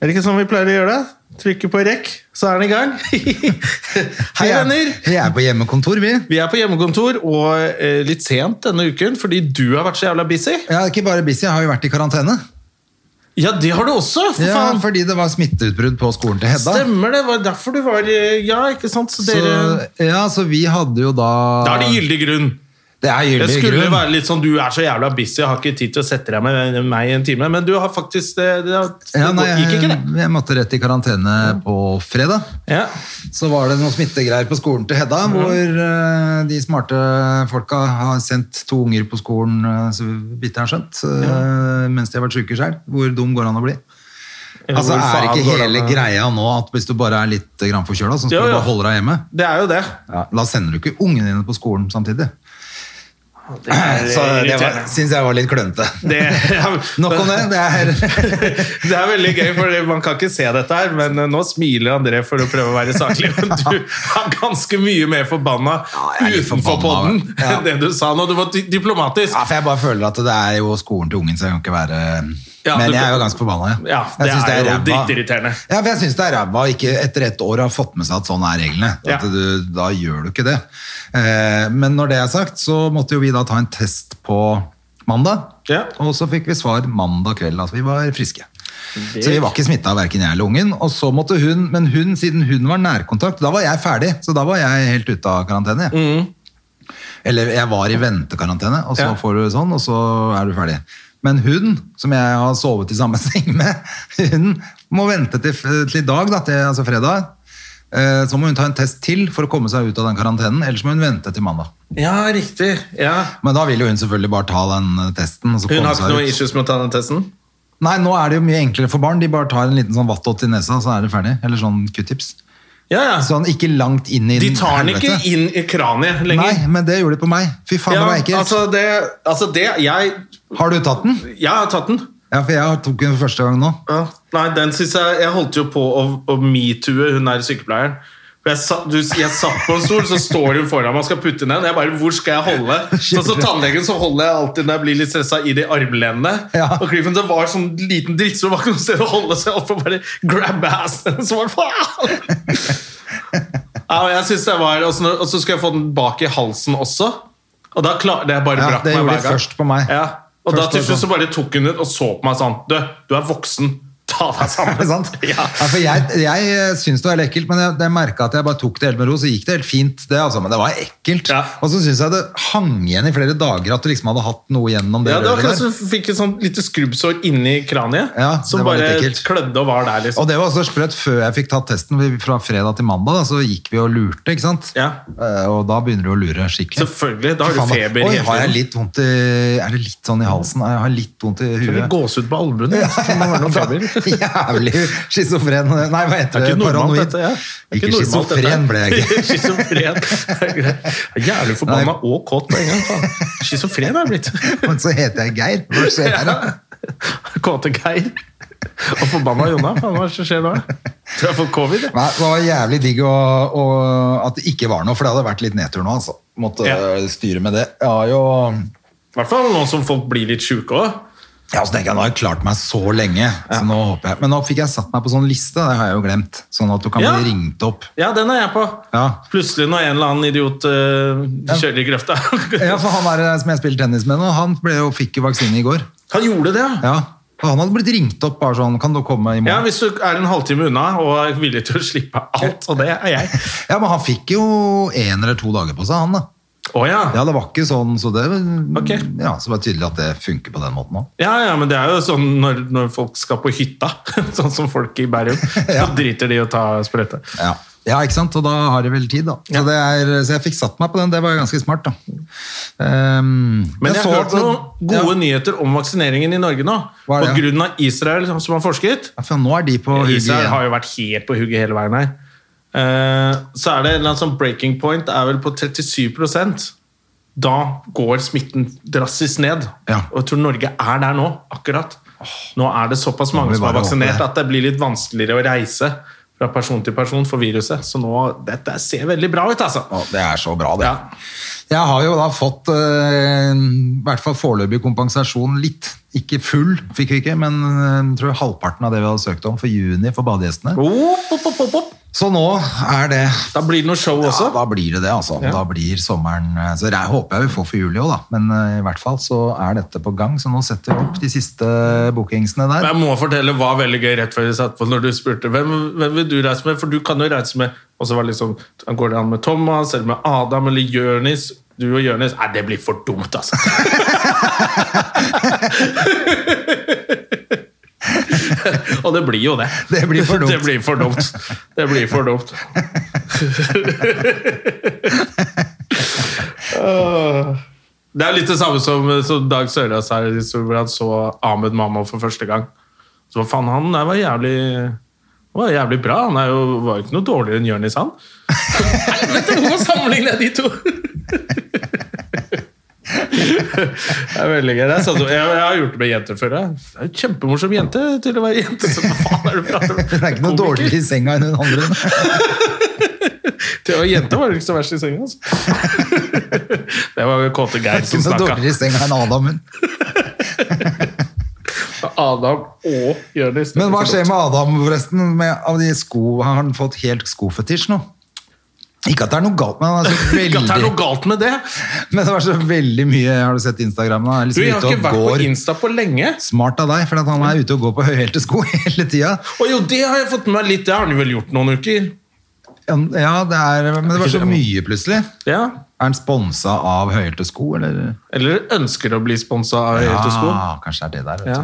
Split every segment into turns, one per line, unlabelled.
Er det ikke sånn vi pleier å gjøre det? Trykke på rekk, så er den i gang. Hei,
Vi er-
venner!
Vi er på hjemmekontor, vi.
Vi er på hjemmekontor, og eh, litt sent denne uken, fordi du har vært så jævla busy.
Ja, ikke bare busy, jeg har jo vært i karantene.
Ja, det har du også, for
Ja,
faen!
fordi det var smitteutbrudd på skolen til Hedda.
Stemmer det, var derfor du var eh, Ja, ikke sant? Så dere
Så, ja, så vi hadde jo da
Da er det gyldig grunn.
Det er
Det
gyldig
skulle
grunn.
være litt sånn Du er så jævla busy, jeg har ikke tid til å sette deg med meg i en time. Men du har faktisk Det, det, det
Ja, nei,
gikk ikke, det.
jeg, jeg måtte rett i karantene på fredag.
Ja.
Så var det noen smittegreier på skolen til Hedda, hvor eh, de smarte folka har sendt to unger på skolen, eh, så vidt jeg har skjønt, eh, mens de har vært syke selv. Hvor dum går det an å bli? Altså,
Hvor
er
faen
ikke
går det
hele
an å-
greia nå at hvis du bare er litt grann forkjøla, så skal
Jo,
du
jo.
bare holde deg hjemme?
Det er jo det.
Da sender du ikke ungene dine på skolen samtidig.
Det er
Så det
irriterende.
syns jeg var litt klønete.
Det, ja,
Nok om det. det er,
Det er veldig gøy, for man kan ikke se dette her, men eh, nå smiler André for å prøve å være saklig. Men du er ganske mye mer forbanna
jeg er litt
utenfor
forbanna,
podden
ja.
enn det du sa nå. Du var di- diplomatisk.
ja, for jeg bare føler at det er jo skolen til ungen, så jeg kan ikke være
Ja,
Men
du-
jeg er jo ganske forbanna,
Ja, det
Jeg synes
er jo
ræva.
dritirriterende.
Ja, for jeg syns det er ræva å ikke etter ett år har fått med seg at sånn er reglene.
Ja.
At du, da gjør du ikke det. Eh, men når det er sagt, så måtte jo vi da ta en test på mandag.
Ja.
Og så fikk vi svar mandag kveld at vi var friske. Så vi var ikke smitta, verken jeg eller ungen. Og så måtte hun, men hun, siden hun var nærkontakt, da var jeg ferdig. Så da var jeg helt ute av karantene. jeg. Eller jeg var i ventekarantene, og så
Ja.
får du sånn, og så er du ferdig. Men hun, som jeg har sovet i samme seng med, hun må vente til, til i dag, da, til, altså fredag. Eh, Så må hun ta en test til for å komme seg ut av den karantenen, ellers må hun vente til mandag.
Ja, riktig. Ja.
Men da vil jo hun selvfølgelig bare ta den eh, testen. Og så
Hun
komme
har ikke
seg
noe
ut.
issues med å ta den testen?
Nei, nå er det jo mye enklere for barn. De bare tar en liten sånn vattåt i nesa, så er det ferdig. Eller sånn Q-tips.
Ja, ja.
Sånn ikke langt inn i
De tar den ikke
helvete.
inn i kraniet lenger.
Nei, men det gjorde de på meg. Fy faen,
Ja,
det var ekkelt.
altså det, altså det jeg,
Har du tatt den?
jeg har tatt den.
Ja, for jeg tok den for første gang nå.
Ja. Nei, den synes jeg Jeg holdt jo på å, å metoo-e hun der sykepleieren. For jeg, sa, du, jeg satt på en stol, så står hun foran meg og skal putte ned. Jeg bare, hvor skal jeg holde? Så som tannlegen så holder jeg alltid når jeg blir litt stressa, i de armlenene.
Ja.
Og Cliffen det var sånn liten drittstol, det var ikke noe sted å holde seg opp og bare grabbe assen. Så var det faen! Ja, og jeg synes det var, og så, og så skal jeg få den bak i halsen også. Og da klar, det bare
Ja,
brakk
det
meg
gjorde
hver
de
gang.
først på meg.
Ja. Og da
Først var det
til
sånn.
slutt så bare tok hun ut og så på meg sånn Du, du er voksen. Ta deg sammen.
Er det sant?
Ja.
Ja, for jeg, jeg syns det var litt ekkelt, men jeg, jeg merka at jeg bare tok det helt med ro, så gikk det helt fint. det altså, Men det var ekkelt.
Ja.
Og så syns jeg det hang igjen i flere dager at du liksom hadde hatt noe gjennom det.
Ja, det var
røret der.
akkurat som du fikk et sånn lite skrubbsår inni kraniet.
Ja,
som
det var
bare
litt ekkelt.
klødde og var der, liksom.
Og det var så sprøtt før jeg fikk tatt testen vi- fra fredag til mandag, da, så gikk vi og lurte, ikke sant?
Ja.
Eh, Og da begynner du å lure skikkelig.
Selvfølgelig. Da har du
Faen,
feber.
Oi,
hele
har jeg
tiden.
litt vondt i Er det litt sånn i halsen? Jeg har litt vondt i
Eller
huet.
gåsehud på albuen. Ja,
Jævlig schizofren Nei, hva heter det?
Det er ikke normalt,
Paranoid.
dette. Ja. Det er
Ikke
normalt, dette.
schizofren ble jeg ikke.
Schizofren. Det er greit. Jeg er Jævlig forbanna og kåt på en gang. faen. Schizofren er jeg blitt.
Men så heter jeg Geir. Hva skjer her, da?
Kåte Geir. Og forbanna Jonna. Faen, hva er det som skjer nå? Tror jeg har fått covid. jeg.
Nei, det var jævlig digg å, å, at det ikke var noe, for det hadde vært litt nedtur nå. altså. Måtte
Ja.
øh, styre med det. Jeg har jo...
I hvert fall nå som folk blir litt sjuke òg.
Ja, så tenker jeg, Nå har jeg klart meg så lenge, så nå håper jeg. Men nå fikk jeg satt meg på sånn liste, det har jeg jo glemt. Sånn at du kan
Ja.
bli ringt opp.
Ja, den er jeg på.
Ja.
Plutselig når en eller annen idiot eh, kjører i grøfta.
ja, for han der som jeg spiller tennis med nå, han ble jo, fikk jo vaksine i går.
Han gjorde det, ja.
Ja, og han hadde blitt ringt opp bare sånn, kan du komme i
Ja,
morgen?
Hvis du er en halvtime unna og er villig til å slippe alt, og det er jeg.
Ja, men han fikk jo en eller to dager på seg, han da.
Å ja.
Ja, det var ikke sånn, så det,
Ok.
ja, så det var tydelig at det funker på den måten også.
Ja, ja, men det er jo sånn når, når folk skal på hytta, sånn som folk i Bærum, så
Ja.
driter de i å ta sprøyte.
Ja. Ja, ikke sant? Og da har de vel tid, da. Så, det er, så jeg fikk satt meg på den. Det var jo ganske smart, da. Ehm,
Men jeg
så
har
at-
hørt noen gode nyheter om vaksineringen i Norge nå. På
Hva er det?
grunn av Israel som- som har forsket.
ja, for Nå er de på hugget
Israel
igjen.
har jo vært helt på hugget hele veien her. Eh, Så er det en eller annen sånn breaking point er vel på 37 Da går smitten drastisk ned.
Ja.
Og jeg tror Norge er der nå, akkurat. Nå er det såpass
må
mange
vi
som er
bare håpe
vaksinert
det.
at det blir litt vanskeligere å reise fra person til person for viruset. Så nå, dette ser veldig bra ut, altså.
Å, det er så bra, det.
Ja.
Jeg har jo da fått eh, i hvert fall foreløpig kompensasjon litt. Ikke full, fikk vi ikke, men eh, tror jeg halvparten av det vi hadde søkt om for juni for badegjestene.
Opp, opp, opp, opp, opp.
Så nå er det
Da blir det noe show
ja,
også.
Da blir det det, altså.
Ja.
Da blir sommeren eh, Så jeg håper jeg vi får for juli òg, da. Men eh, i hvert fall så er dette på gang. Så nå setter vi opp de siste bookingsene
Men
der.
Jeg må fortelle hva veldig gøy rett før vi satt på når du spurte hvem, hvem vil du reise med, for du kan jo reise med Og så var det liksom Går det an med Thomas, eller med Adam, eller Jørnis? Du og Jørnis Nei, det blir for dumt, altså. og det blir jo det.
Det blir for dumt.
Det blir for dumt. Det blir for dumt. Åh. Det er litt det samme som, som Dag Sørås her, i historien, hvor han så Ahmed Mamma for første gang. Så hva faen, han der var jævlig, han var jævlig bra. Han er jo, var jo ikke noe dårligere enn Jonis, han. Helvete, hvorfor sammenligner jeg de to? det er veldig gøy. Det er sånn som- jeg, jeg har gjort det med jenter før. Jeg. Det er jo kjempemorsom jente til å være jente. Så hva faen er det du prater om?
Det er ikke noe dårligere i senga enn hun andre.
Til å være jente var det ikke så verst i senga. Altså. Det var jo kåte Geir
Ikke
som
noe
snakka.
dårligere i senga enn Adam. hun.
Adam og Jonis.
Men hva skjer med Adam, forresten? Med, av de sko, har han fått helt skofetisj nå? Ikke at det er noe galt, men han er så
Ikke at det er
veldig
noe galt med det!
Men det var så veldig mye Har du sett Instagram? da? Han er
Du,
liksom
jeg har
ute
ikke
og
vært på
går.
Insta på lenge.
Smart av deg, for at han er ute og går på høyhælte sko hele tida.
Å jo, det har jeg fått med meg litt. Det har han vel gjort noen uker.
Ja, det er, men det var så mye plutselig.
Ja.
Er han sponsa av høyhælte sko, eller?
Eller ønsker å bli sponsa av Høyhælte sko.
Ja, kanskje det er det der. Vet
Ja.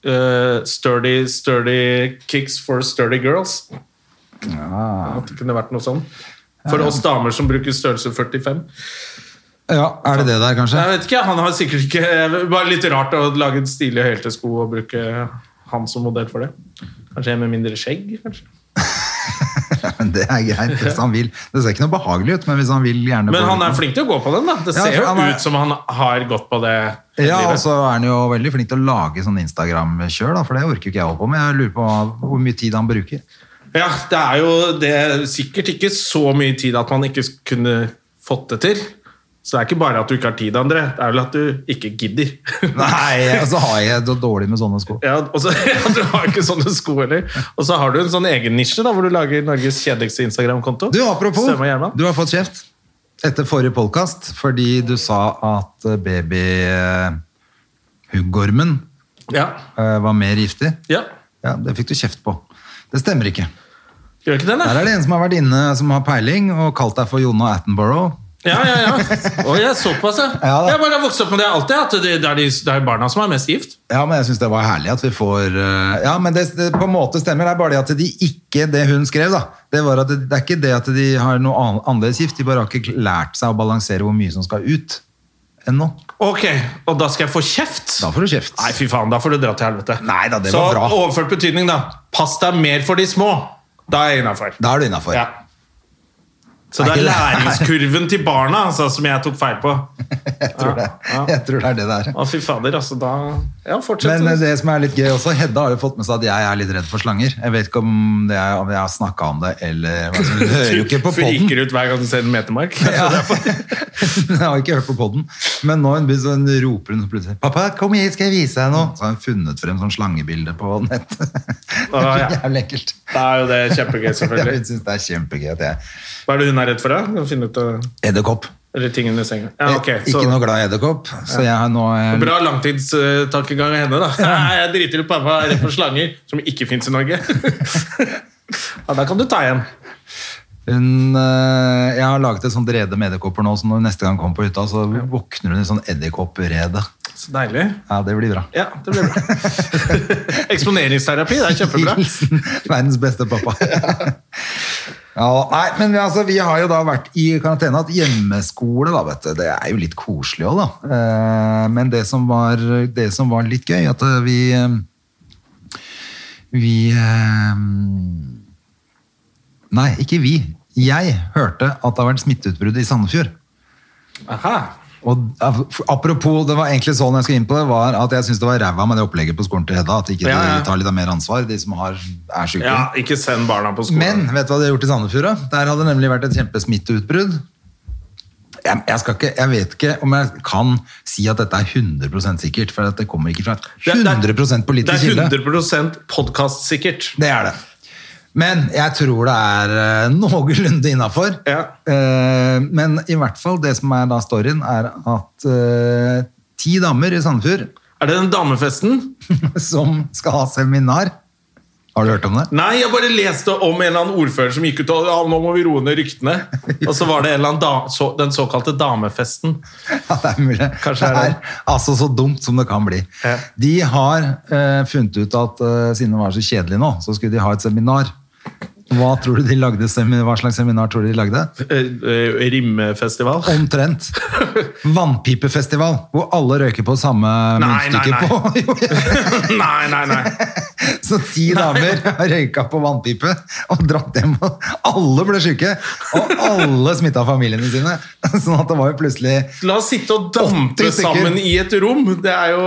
Eh, sturdy, sturdy kicks for sturdy girls. At det kunne vært noe sånn. For oss damer som bruker størrelse 45.
du. ja, Er det det der, kanskje?
Jeg vet ikke, han har sikkert ikke Bare litt rart å lage et stilig høyhælesko og bruke han som modell for det. Kanskje en med mindre skjegg, kanskje.
Men det er greit hvis han vil. Det ser ikke noe behagelig ut, men hvis han vil gjerne
Men
gå
han
ut-
er flink til å gå på den, da. Det
Ja,
ser
for
jo
han er-
ut som han har gått på det.
Ja,
livet.
og så er han jo veldig flink til å lage sånn Instagram-kjør, da, for det orker ikke jeg holde på med. Jeg lurer på hvor mye tid han bruker.
Ja, det er jo det er sikkert ikke så mye tid at man ikke kunne fått det til. Så det er ikke bare at du ikke har tid, André. Det er vel at du ikke gidder.
Nei, og så har jeg det dårlig med sånne sko.
Ja, og så, ja, du har ikke sånne sko heller. Og så har du en sånn egen nisje da, hvor du lager Norges kjedeligste Instagram-konto.
Du, apropos,
Stømme og Gjerman.
du har fått kjeft etter forrige podkast fordi du sa at eh, baby-huggormen
Ja.
eh, var mer giftig.
ja.
Ja, det fikk du kjeft på. Det stemmer ikke.
Gjør ikke det,
Der
nei?
er det en som har vært inne som har peiling, og kalt deg for Jonna Attenborough.
Ja, ja, ja. Og jeg er såpass, jeg.
Ja, da.
jeg bare har vokst opp med det alltid, at det, det, er de, det er barna som er mest gift.
Ja, men jeg synes det var herlig at vi får eh, Ja, men det, det på en måte stemmer. Det er bare det at de ikke Det hun skrev, da. Det, var at det, det er ikke det at de har noe ann- annerledes gift. De bare har ikke lært seg å balansere hvor mye som skal ut ennå.
Ok, og da skal jeg få kjeft?
Da får du kjeft.
Nei, fy faen, da får du dra til helvete.
Nei da, det
Så
var bra.
overført betydning, da. Pass deg mer for de små. Da er jeg innafor.
Da er du innafor.
Ja.
Er
Så det er
ikke det-
læringskurven til barna altså, som jeg tok feil på.
Jeg, tror det.
Ja, ja.
jeg tror det er det det er.
Å, fy fader, altså. Da Ja, fortsett.
Men eh, det som er litt gøy også, Hedda har jo fått med seg at jeg er litt redd for slanger. Jeg vet ikke om, det er, om jeg har snakka om det, eller hva som- Du hører jo ikke på podden.
Friker ut hver gang du ser en metermark.
Ja. jeg har ikke hørt på podden. Men nå hun begynner sånn, roper hun plutselig 'Pappa, kom hit, skal jeg vise deg noe?' Så har hun funnet frem sånn slangebilde på nettet. Det
Ah,
er
ja.
Jævlig ekkelt.
Da er jo det kjempegøy,
Ja,
selvfølgelig.
Hun syns det er kjempegøy at jeg
Hva er det hun er redd for, da? Kan finne ut av
Edderkopp.
Eller ting under senga. Ja, ok.
Eh,
Så
Ikke noe glad i edderkopp. Så jeg har nå eh, jeg,
bra langtidstankegang av henne, da. Nei, jeg driter i pappa er redd for slanger, som ikke fins i Norge. Ja, da kan du ta igjen.
hun, eh, jeg har laget et sånt rede med edderkopper nå, så når hun neste gang kommer på hytta, så våkner hun i sånn edderkopprede.
Så deilig.
Ja, det blir bra.
Ja, det blir bra. Eksponeringsterapi, det er kjempebra.
Hilsen verdens beste pappa. Ja, nei, men vi, altså, vi har jo da vært i karantene, hatt hjemmeskole, da, vet du. Det er jo litt koselig òg, da. Eh, Men det som, var, det som var litt gøy, at eh, vi eh, Vi eh, Nei, ikke vi. Jeg hørte at det har vært smitteutbrudd i Sandefjord.
Aha.
Og af- apropos, det var egentlig sånn jeg skulle inn på det, var at jeg syns det var ræva med det opplegget på skolen til Hedda. At ikke
Ja, ja.
de tar litt av mer ansvar, de som har, er syke.
Ja, ikke send barna på skolen.
Men vet du hva de har gjort i Sandefjord? da? Der hadde det nemlig vært et kjempesmitteutbrudd. Jeg, jeg, skal ikke, jeg vet ikke om jeg kan si at dette er 100 sikkert, for at det kommer ikke fra
Det er- det er-
100 politisk kilde.
Det er 100 podkast-sikkert.
Det er det. Men jeg tror det er eh, noenlunde innafor. Eh,
Ja.
men i hvert fall det som er da storyen, er at eh, ti damer i Sandefjord
Er det den damefesten?
som skal ha seminar Har du hørt om det?
Nei, jeg bare leste om en eller annen ordfører som gikk ut og ja, nå må vi roe ned ryktene. Og så var det en eller annen da, så, den såkalte damefesten.
Ja, det er mulig.
Kanskje
det
er
er
det.
altså så dumt som det kan bli.
Ja.
De har eh, funnet ut at eh, siden det var så kjedelig nå, så skulle de ha et seminar. Hva, tror du de lagde, semi- hva slags seminar tror du de lagde?
Eh, eh, Rimmefestival.
Omtrent. Vannpipefestival, hvor alle røyker på samme
Nei,
munnstykke
nei, nei.
på. Jo, ja.
nei, nei, nei.
Så ti damer har røyka på vannpipe og dratt hjem, og alle ble syke. Og alle smitta familiene sine. Sånn at det var jo plutselig
La oss sitte og dampe
80 stykker.
sammen i et rom. Det er jo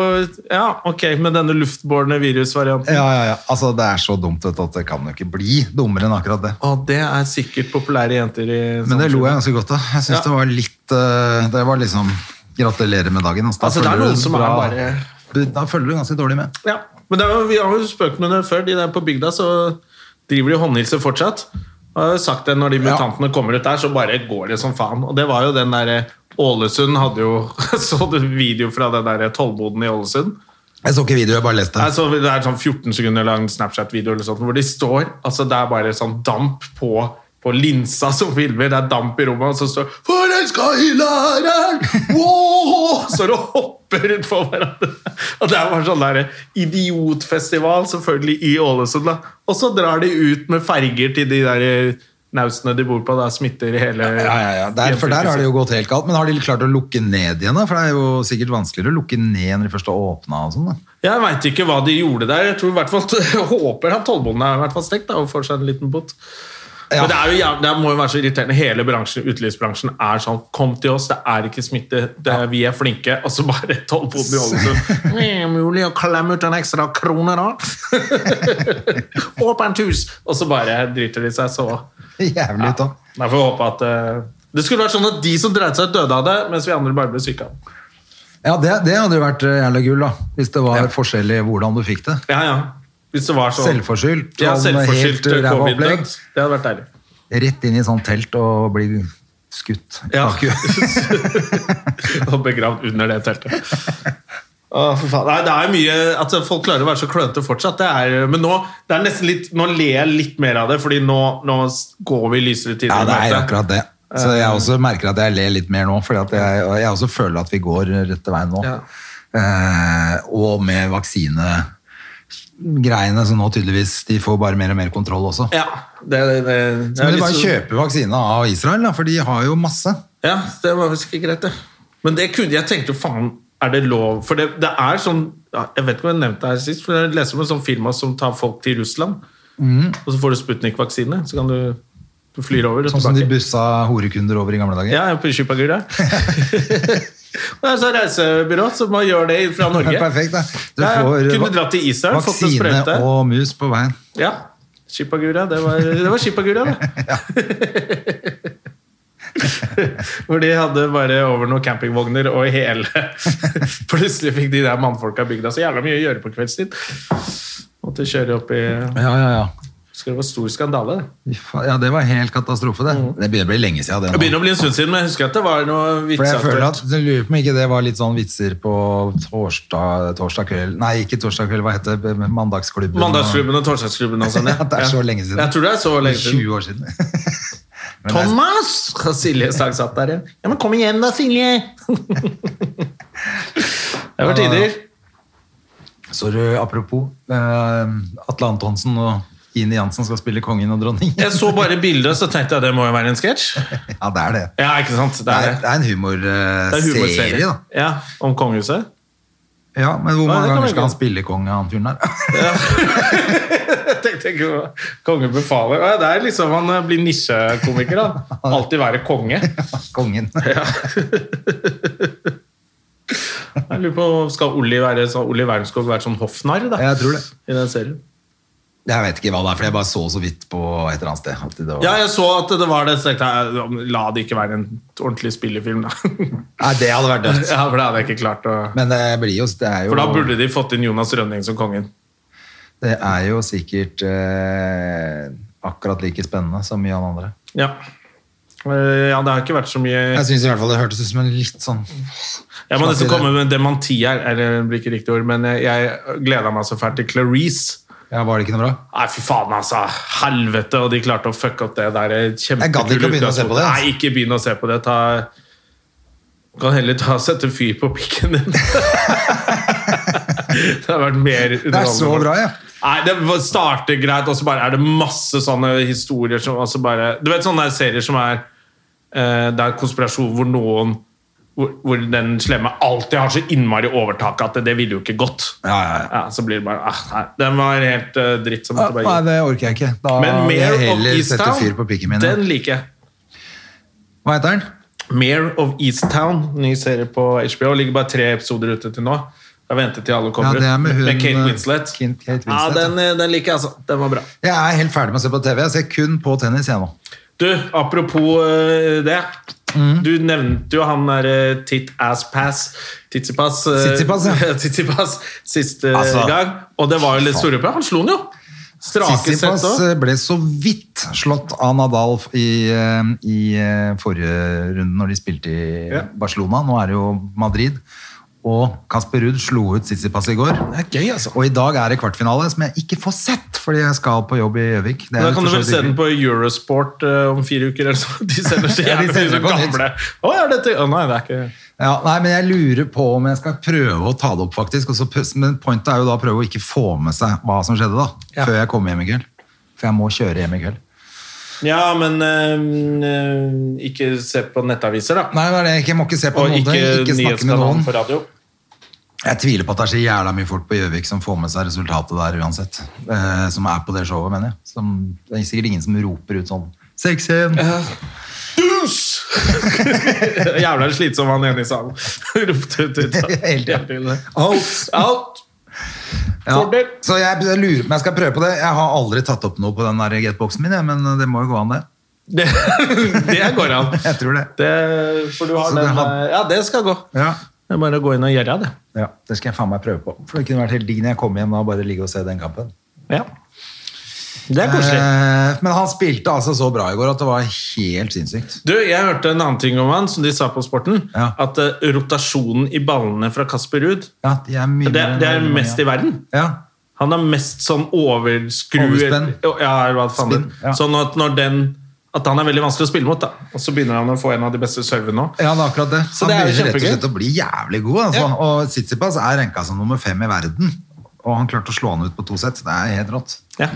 Ja, ok, med denne luftbårne virusvarianten.
ja, ja, ja. Altså, Det er så dumt vet du, at det kan jo ikke bli dummere enn akkurat det.
Og Ah, det er sikkert populære jenter i
Men det lo jeg
samfunnet.
ganske godt av. Jeg syns
Sånn Ja.
det var litt eh, Det var liksom Gratulerer med dagen. ass. Da
Altså, det er
følger
noen
du
som er
bra-
bare
du- Da følger du ganske dårlig med.
Ja, men det er, jo- vi har jo spøkt med det før. De der på bygda så driver de og håndhilser fortsatt. Og jeg har jo sagt det Når de mutantene kommer ut der, så bare går det som faen. Og det var jo den der eh, Ålesund hadde jo Så du video fra den der tollboden i Ålesund?
Jeg så ikke videoen, jeg bare leste.
Nei, så det er sånn 14 sekunder lang Snapchat-video eller sånt, hvor de står altså Det er bare sånn damp på på linsa som filmer, det er damp i rommet, og så står Forelska i læreren! Wow! Så det hopper rundt på hverandre. Og det er bare sånn der idiotfestival, selvfølgelig, i Ålesund. da. Og så drar de ut med ferger til de der naustene de bor på. Da smitter hele
Ja, ja, ja. Der, for der har det jo gått helt galt. Men har de klart å lukke ned igjen? da? For det er jo sikkert vanskeligere å lukke ned når de først har åpna og sånn. da.
Jeg veit ikke hva de gjorde der. Jeg tror i hvert fall, jeg håper han tollbonden er i hvert fall stekt da, og får seg en liten bot.
Ja.
Men det, er jo, jæv- det må jo være så irriterende. Hele bransjen, utelivsbransjen er sånn Kom til oss, det er ikke smitte, det er, vi er flinke. Og så bare tollboden i Ålesund. Det er mulig å klemme ut en ekstra krone, da. Åpent hus! Og så bare driter de seg så.
Jævlig ut da.
Nei, får vi håpe at eh, Det skulle vært sånn at de som dreit seg ut, døde av det, mens vi andre bare ble syke av det.
Ja, det, det hadde jo vært eh, jævla gull, da. Hvis det var forskjell i hvordan du fikk det.
Ja, ja. Hvis det var sånn.
Selvforskyldt.
Ja,
sånn
selvforskyldt eh,
helt ræva opplegg.
covid-død. Det hadde vært deilig.
Rett inn i sånn telt og bli skutt. i
Ja.
bakhuet.
og begravd under det teltet. Å, for faen. Nei, det er mye At folk klarer å være så klønete fortsatt. Det er, men nå, det er nesten litt, nå ler jeg litt mer av det, Fordi nå, nå går vi lysere tider.
ja, det
i
er
møte.
akkurat det. Så jeg
Eh.
også merker at jeg ler litt mer nå, for jeg, og jeg også føler at vi går rette veien nå.
Ja.
Eh, og med vaksinegreiene, så nå tydeligvis de får bare mer og mer kontroll også.
Ja, det, det, det, det er
Men de
litt sånn-
bare
så-
kjøper vaksine av Israel, da, for de har jo masse.
Ja, det var visst ikke greit, det. Men det kunne, jeg tenkte jo faen, er det lov? For det, det er sånn ja, Jeg vet ikke om jeg nevnte det her sist, for jeg leser om en sånn firma som tar folk til Russland.
Mhm.
Og så får du Sputnik-vaksine, så kan du Du flyr over. og
Sånn som de
tilbake.
bussa horekunder over i gamle dager.
Ja, jeg er på Kypagura. Det er så reisebyrå som bare gjør det fra
Det
Norge.
er perfekt, da. Du
Ja, ja.
får
Kunne
va-
dratt til Israel, fått en
vaksine
sprøyte.
og mus på veien.
Ja. Kypagura, det var, det var Kypagura, det. Hvor de hadde bare over noen campingvogner og hele Plutselig fikk de der mannfolka i bygda så jævla mye å gjøre på kveldstid. Måtte kjøre opp i
Ja, ja, ja.
Skal det være stor skandale? det.
Fy faen, Ja, det var helt katastrofe, det. Det begynner å bli lenge siden.
Mm. Det
Det nå.
begynner å bli en stund siden, men jeg husker at det var noe
For jeg føler at,
vitseaktuelt.
jeg lurer på om ikke det var litt sånn vitser på torsdag, torsdag kveld Nei, ikke torsdag kveld, hva heter det? Mandagsklubben.
Mandagsklubben og torsdagsklubben og sånn.
Ja, det er så lenge siden.
Jeg tror det er så lenge siden.
20 år siden. Men det er-
Thomas! Og Silje Stang satt der igjen. Ja, men kom igjen da, Silje! det var tider.
Så du, apropos eh, Atle Antonsen og Ine Jansen skal spille kongen og dronningen.
Jeg så bare bildet, så tenkte jeg det må jo være en sketsj.
Ja, det er det.
Ja, ikke sant? Det
Det
er
er,
det.
det er en humorserie,
Det er humorserie.
da.
Ja, om kongehuset.
Ja, men hvor mange
Ja, det kan
ganger
være
skal han
gøy.
spille konge, han fyren der?
Jeg tenkte ikke på Kongen befaler. Å, ja, Det er liksom Han eh, blir nisjekomiker, da. Alltid være konge.
Kongen.
Jeg lurer på, Skal Olli, være, skal Olli Wermskog være sånn hoffnarr da?
Jeg tror det.
i den serien?
Jeg vet ikke hva det er, for jeg bare så så vidt på et eller annet sted. At det var...
Ja, jeg så at det var det, så tenkte jeg ja, men la det ikke være en ordentlig spillefilm, da.
Nei, det hadde vært dødt.
Ja, for det hadde jeg ikke klart å
Men det blir jo Det er jo,
For da burde de fått inn Jonas Rønning som kongen.
det er jo sikkert eh, akkurat like spennende som mye av det andre.
Ja. Eh, ja, det har ikke vært så mye
Jeg syns i hvert fall det hørtes ut som en litt sånn
Jeg må nesten
Slapp i det.
komme med en dementi her, eller det blir ikke riktig ord, men eh, jeg gleda meg så fælt til Clarice.
Ja, var det ikke noe bra?
Nei, fy faen, altså. Helvete, og de klarte å fucke opp det der. Kjempekule
Jeg gadd ikke å begynne å se på det, altså.
Nei, ikke begynn å se på det. Ta Du kan heller ta sette fyr på pikken din. det har vært mer
Det er så bra, ja.
Nei, det var- starter greit, og så bare er det masse sånne historier som altså bare, Du vet sånne der serier som er eh, Det er konspirasjon hvor noen hvor, hvor den slemme alltid har så innmari overtak at det, det ville jo ikke gått.
Ja, ja, ja.
så blir det bare ah, nei, Den var helt eh, dritt. Som
Ah,
måtte bare
Nei, det orker jeg ikke. Da
men
vil
Mare
jeg
of
heller sette
Easttown,
fyr på pikken min.
den liker jeg.
Hva heter den?
Mare of Easttown, ny serie på HBO. Ligger bare tre episoder ute til nå. Jeg venter til alle kommer
Ja, det er med
ut.
hun,
Kate
eh,
Winslet.
Kate- Kate
ja,
Winslet,
den, eh, den liker jeg, altså. Den var bra.
Jeg er helt ferdig med å se på TV. Jeg ser kun på tennis jeg nå.
Du, apropos eh, det.
Mm.
Du nevnte jo han eh, derre Tit Ass Pass. Titsipass. eh,
Tsitsipas, ja.
Tsitsipas siste eh,
Altså,
gang. Og det var jo litt store på. Han slo den jo! Strake sett
Sissipas
også.
eh, ble så vidt slått av Nadal i, eh, i eh, forrige runde når de spilte i
Ja.
Barcelona. Nå er det jo Madrid. Og Kasper Ruud slo ut Sissipas i går.
Det er gøy, altså.
Og i dag er det kvartfinale, som jeg ikke får sett fordi jeg skal på jobb i Gjøvik. Det er
Da
litt
kan du vel
for så
se
vidt
den på Eurosport eh, om fire uker eller så. De sender så
Ja, de
jævlig
sender
mye
på
sånn
nytt.
gamle. Å, er dette? Å, nei, det er ikke
Ja, nei, men jeg lurer på om jeg skal prøve å ta det opp, faktisk. Og så, pus- men pointet er jo da å prøve å ikke få med seg hva som skjedde, da.
Ja.
Før jeg kommer hjem i kveld. For jeg må kjøre hjem i kveld.
Ja, men eh, eh, ikke se på nettaviser, da.
Nei, det er det. Jeg må ikke se på
Og
noen
ikke,
ting. Ikke snakke med
nyhetskanalen
noen.
på radio.
Jeg tviler på at det er så jævla mye folk på Gjøvik som får med seg resultatet der uansett. Eh, som er på det showet, mener jeg. Som, det er sikkert ingen som roper ut sånn 6-1!
Jævla slitsom han ene i salen. Ropte ut ut.
Helt
Helt til det.
Out!
Out!
Ja.
Fordel.
Så jeg, jeg lurer på om jeg skal prøve på det. Jeg har aldri tatt opp noe på den der getboxen min, jeg, men det må jo gå an, det.
Det, det går an.
Jeg tror det.
Det, for du har
Så det
den
had-
eh, Ja, det skal gå.
Ja.
Det er bare å gå inn og gjøre det.
Ja, det skal jeg faen meg prøve på. For det kunne vært helt digg når jeg kom hjem og bare ligge og se den kampen.
Ja. Det er koselig.
Eh, men han spilte altså så bra i går at det var helt sinnssykt.
Du, jeg hørte en annen ting om han, som de sa på Sporten.
Ja.
At eh, rotasjonen i ballene fra Kasper Ruud,
Ja, de er mye
det, det er mest i verden.
Ja.
Han har mest sånn overskru
Overspenn.
Ja, eller hva faen
Spinn,
det-
ja.
Sånn at når den At han er veldig vanskelig å spille mot, da. Og så begynner han å få en av de beste servene nå.
ja, det er akkurat det.
Så
han
det er jo
begynner rett og
kjempegøy.
slett å bli jævlig god. Altså.
Ja.
Og Tsitsipas er renka som nummer fem i verden. Og han klarte å slå han ut på to sett. Det er helt rått.
Ja.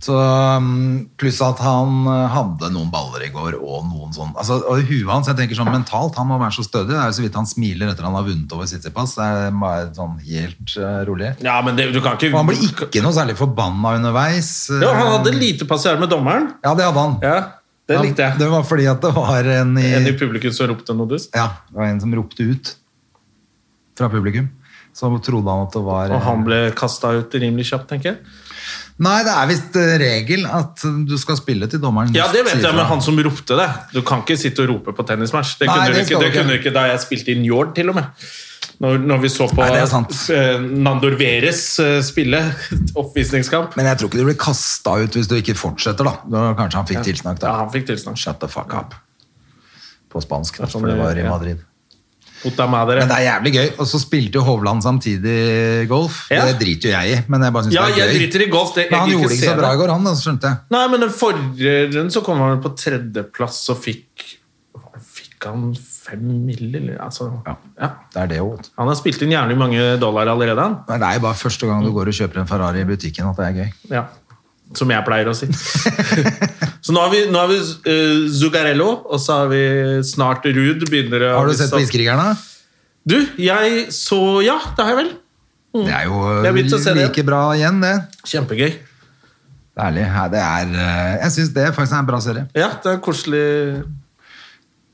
Så, um, pluss at han eh, hadde noen baller i går og noen sånn altså, Og i huet hans, jeg tenker sånn mentalt, han må være så stødig. Det er jo så vidt han smiler etter han har vunnet over Sitsipas. Det er bare sånn helt eh, rolig.
ja, men det, du kan ikke
Og han ble ikke noe særlig forbanna underveis. uh,
ja, Han hadde lite passiar med dommeren.
Ja, det hadde han.
Ja, Det
Ja,
likte jeg.
Det var fordi at det var en i,
En i publikum som ropte noe dust.
ja, det var en som ropte ut fra publikum. Så trodde han at det var eh,
Og han ble kasta ut rimelig kjapt, tenker jeg.
Nei, det er visst eh, regel at du skal spille til dommeren.
Ja, det vet
sier
jeg, men
fra.
han som ropte det Du kan ikke sitte og rope på tennismatch. Det
Nei,
kunne,
det
du,
skal
ikke,
du
det
ikke.
kunne du ikke da jeg spilte i Njord, til og med. Når, når vi så på
Nei, det er sant.
eh, Nandor Veres eh, spille oppvisningskamp.
Men jeg tror ikke du blir kasta ut hvis du ikke fortsetter, da. da kanskje han fikk tilsnakk,
Ja,
da.
han fikk tilsnakk.
Shut the fuck up. På spansk, da,
Det er sånn
for det
det-
var i
ja.
Madrid.
Puta madre.
Men det er jævlig gøy. Og så spilte jo Hovland samtidig golf.
Ja.
Det driter jo jeg i, men jeg bare syns
Ja,
det er
jeg
gøy.
driter i golf. Det, jeg
Men han
vil
gjorde det ikke
se
så bra i går, han, da, skjønte jeg.
Nei, men den forrige runden så kom han vel på tredjeplass og fikk Fikk han fem mill., eller? Altså,
Ja.
ja.
Det er det jo. vet du.
Han har spilt inn jævlig mange dollar allerede, han. Mm.
Men det er jo bare første gang du går og kjøper en Ferrari i butikken at det er gøy.
Ja. Som jeg pleier å si. så nå har vi, nå har vi eh, Zuccarello, og så har vi snart Ruud. Begynner å-
Har du sett på Iskrigerne?
Du, jeg så Ja, det har jeg vel.
Det er jo
Jeg har begynt å se det.
like bra igjen, det.
Kjempegøy.
Ærlig. Ja, det er, eh, jeg syns det faktisk er en bra serie.
Ja, det er koselig.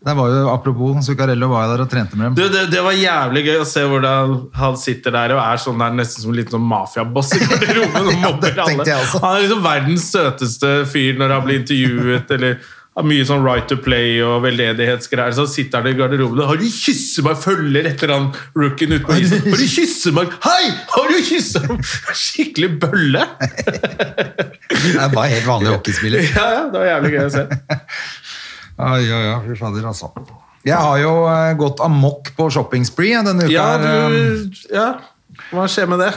Det var jo, apropos Zuccarello var jo der og trente med dem.
Du, det, det var jævlig gøy å se hvordan han sitter der og er sånn der nesten som en liten sånn mafiaboss i garderoben og
Ja,
mobber
det tenkte
alle.
jeg også.
Han er liksom verdens søteste fyr når han blir intervjuet, eller har mye sånn right to play og veldedighetsgreier. Så sitter han i garderoben og har du kysset meg? Følger etter han rookien ute på isen. Har du kysset meg? Hei! Har du kysset meg? Skikkelig bølle.
Det er bare helt vanlig hockeyspiller.
Ja, ja, det var jævlig gøy å se.
Ai, ai, ai, fy fader, altså. Jeg har jo eh, gått amok på shoppingspree jeg, denne uka.
Ja,
her, eh.
du, ja. Hva skjer med det?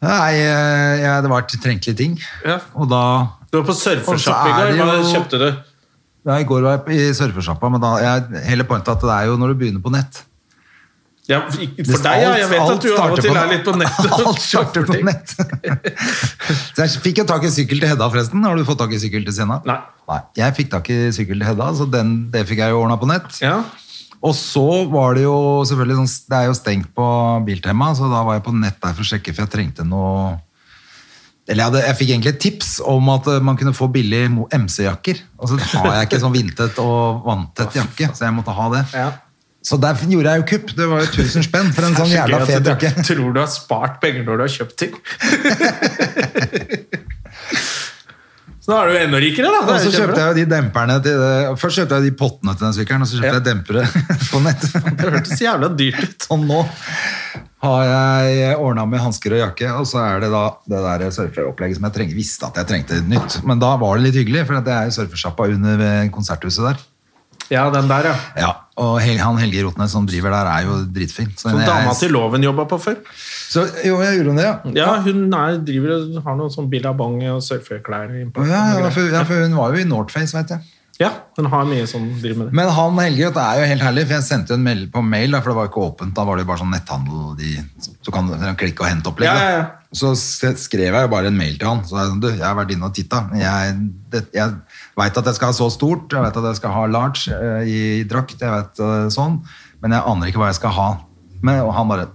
Nei, eh, jeg, det var til trengte litt ting.
Ja.
Og da
Du var på surfesjapp i
Og så er
går.
det
Hva
jo-
kjøpte du?
ja, I går var jeg på- i surfesjappa, men da, jeg, hele pointet er at det er jo når du begynner på nett.
Ja, for for deg, ja. Jeg vet
Alt-
at du av
alt
og til
starter
er litt på nettet.
alt starter på nett. så jeg fikk jo tak i sykkel til Hedda, forresten. Har du fått tak i sykkel til Sena?
Nei.
Jeg fikk tak i sykkel til Hedda, så den, det fikk jeg jo ordna på nett.
Ja.
Og så var det jo selvfølgelig sånn Det er jo stengt på Biltema, så da var jeg på nett der for å sjekke, for jeg trengte noe eller jeg, hadde, jeg fikk egentlig et tips om at eh, man kunne få billig mo- MC-jakker. Og så har jeg ikke sånn vindtett og vanntett jakke, så jeg måtte ha det.
Ja.
Så der gjorde jeg jo kupp. Det var jo 1000 spenn for en sånn
Det er så
jævla
gøy
fet
at du
jakke.
Tror du har spart penger når du har kjøpt ting. Så da er du jo enda rikere, da.
Og så kjøpte jeg jo de demperne til det. Først kjøpte jeg de pottene til den sykkelen, og så kjøpte
Ja.
jeg dempere på nett.
Det hørtes jævla dyrt ut.
Og nå har jeg ordna med hansker og jakke, og så er det da det der surferopplegget som jeg treng, visste at jeg trengte nytt. Men da var det litt hyggelig, for det er jo surfersjappa under ved konserthuset der.
Ja, den der, ja.
Ja, Og Hel han Helge Rotnes som driver der, er jo dritfin. Så
Som
jeg-
dama til Loven jobba på før.
Så, jo, jeg gjorde det, ja.
Ja, Hun er, driver og har noen sånn billabong og surfeklær. i
Å,
importen
Ja, ja,
og
for,
greier.
ja, for hun var jo i Northface, vet jeg.
ja, hun har mye sånn driver med det.
Men han Helge det er jo helt herlig, for jeg sendte jo en mail på mail, da, for det var ikke åpent. Da var det jo bare sånn netthandel, de, så kan du klikke og hente opplegg.
Ja,
da.
ja, ja.
Så s- skrev jeg jo bare en mail til han. Så jeg, sånn, du, jeg har vært inne og titta. Jeg, det- jeg veit at jeg skal ha så stort, jeg veit at jeg skal ha large eh, i, drakt, jeg vet eh, sånn, men jeg aner ikke hva jeg skal ha. Men, og han bare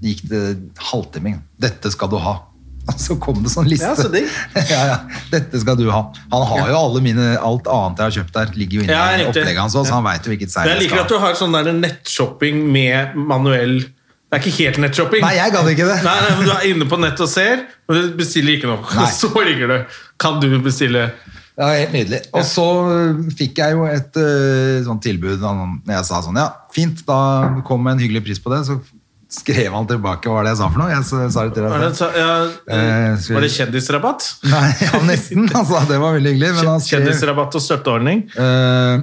det gikk det halvtime. Dette skal du ha. Og så kom det sånn liste.
Ja, så digg.
ja, ja. Dette skal du ha. Han har jo alle mine, alt annet jeg har kjøpt der, ligger jo inne
Ja,
i
riktig.
opplegget hans òg, så han veit jo hvilket seil
Men jeg liker at du har sånn der nettshopping med manuell Det er ikke helt nettshopping.
Nei, jeg gadd ikke det.
Nei, nei, men Du er inne på nett og ser, men du bestiller ikke noe.
Nei.
Så ringer du. Kan du bestille
Ja, helt nydelig. Og så øh, fikk jeg jo et øh, sånt tilbud da han- når jeg sa sånn, ja, fint, da kom en hyggelig pris på det, så skrev han tilbake hva var det jeg sa for noe. Jeg s- sa det til deg.
Var det,
selv.
så, ja,
Eh, skal vi-
var det kjendisrabatt?
Nei, ja, nesten. Altså, det var veldig hyggelig. Men han skrev,
Kjendisrabatt og støtteordning?
øh,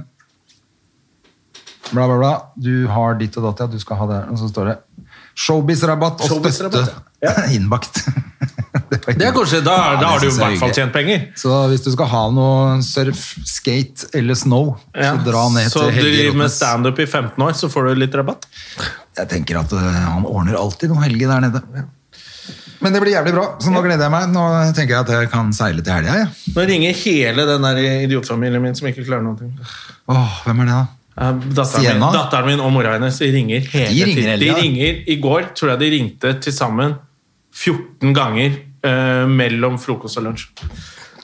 bla, bla, bla, du har ditt og datt, ja, du skal ha det. her. Og så står det, showbiz-rabatt og
Showbiz-rabatt,
støtte innbakt. det, var
Det er
hyggelig.
kanskje, Da,
Ja, det
da har du
synes jeg er
i hvert fall
hyggelig.
tjent penger.
Så hvis du skal ha noe surf, skate eller snow,
Ja.
så dra ned
så
til
du
Helge
driver med
Rotnes.
standup i 15 år, så får du litt rabatt?
Jeg tenker at øh, han ordner alltid noe Helge der nede. Men det blir jævlig bra, så nå gleder jeg meg. Nå tenker jeg at jeg kan seile til helga. jeg.
Nå ringer hele den der idiotfamilien min som ikke klarer noen ting.
Åh, hvem er det, da?
Eh, Datteren
Sienna?
min, datteren min og mora hennes de ringer hele
De ringer
tiden.
hele
De
tiden.
ringer, I går tror jeg de ringte til sammen 14 ganger eh, mellom frokost og lunsj.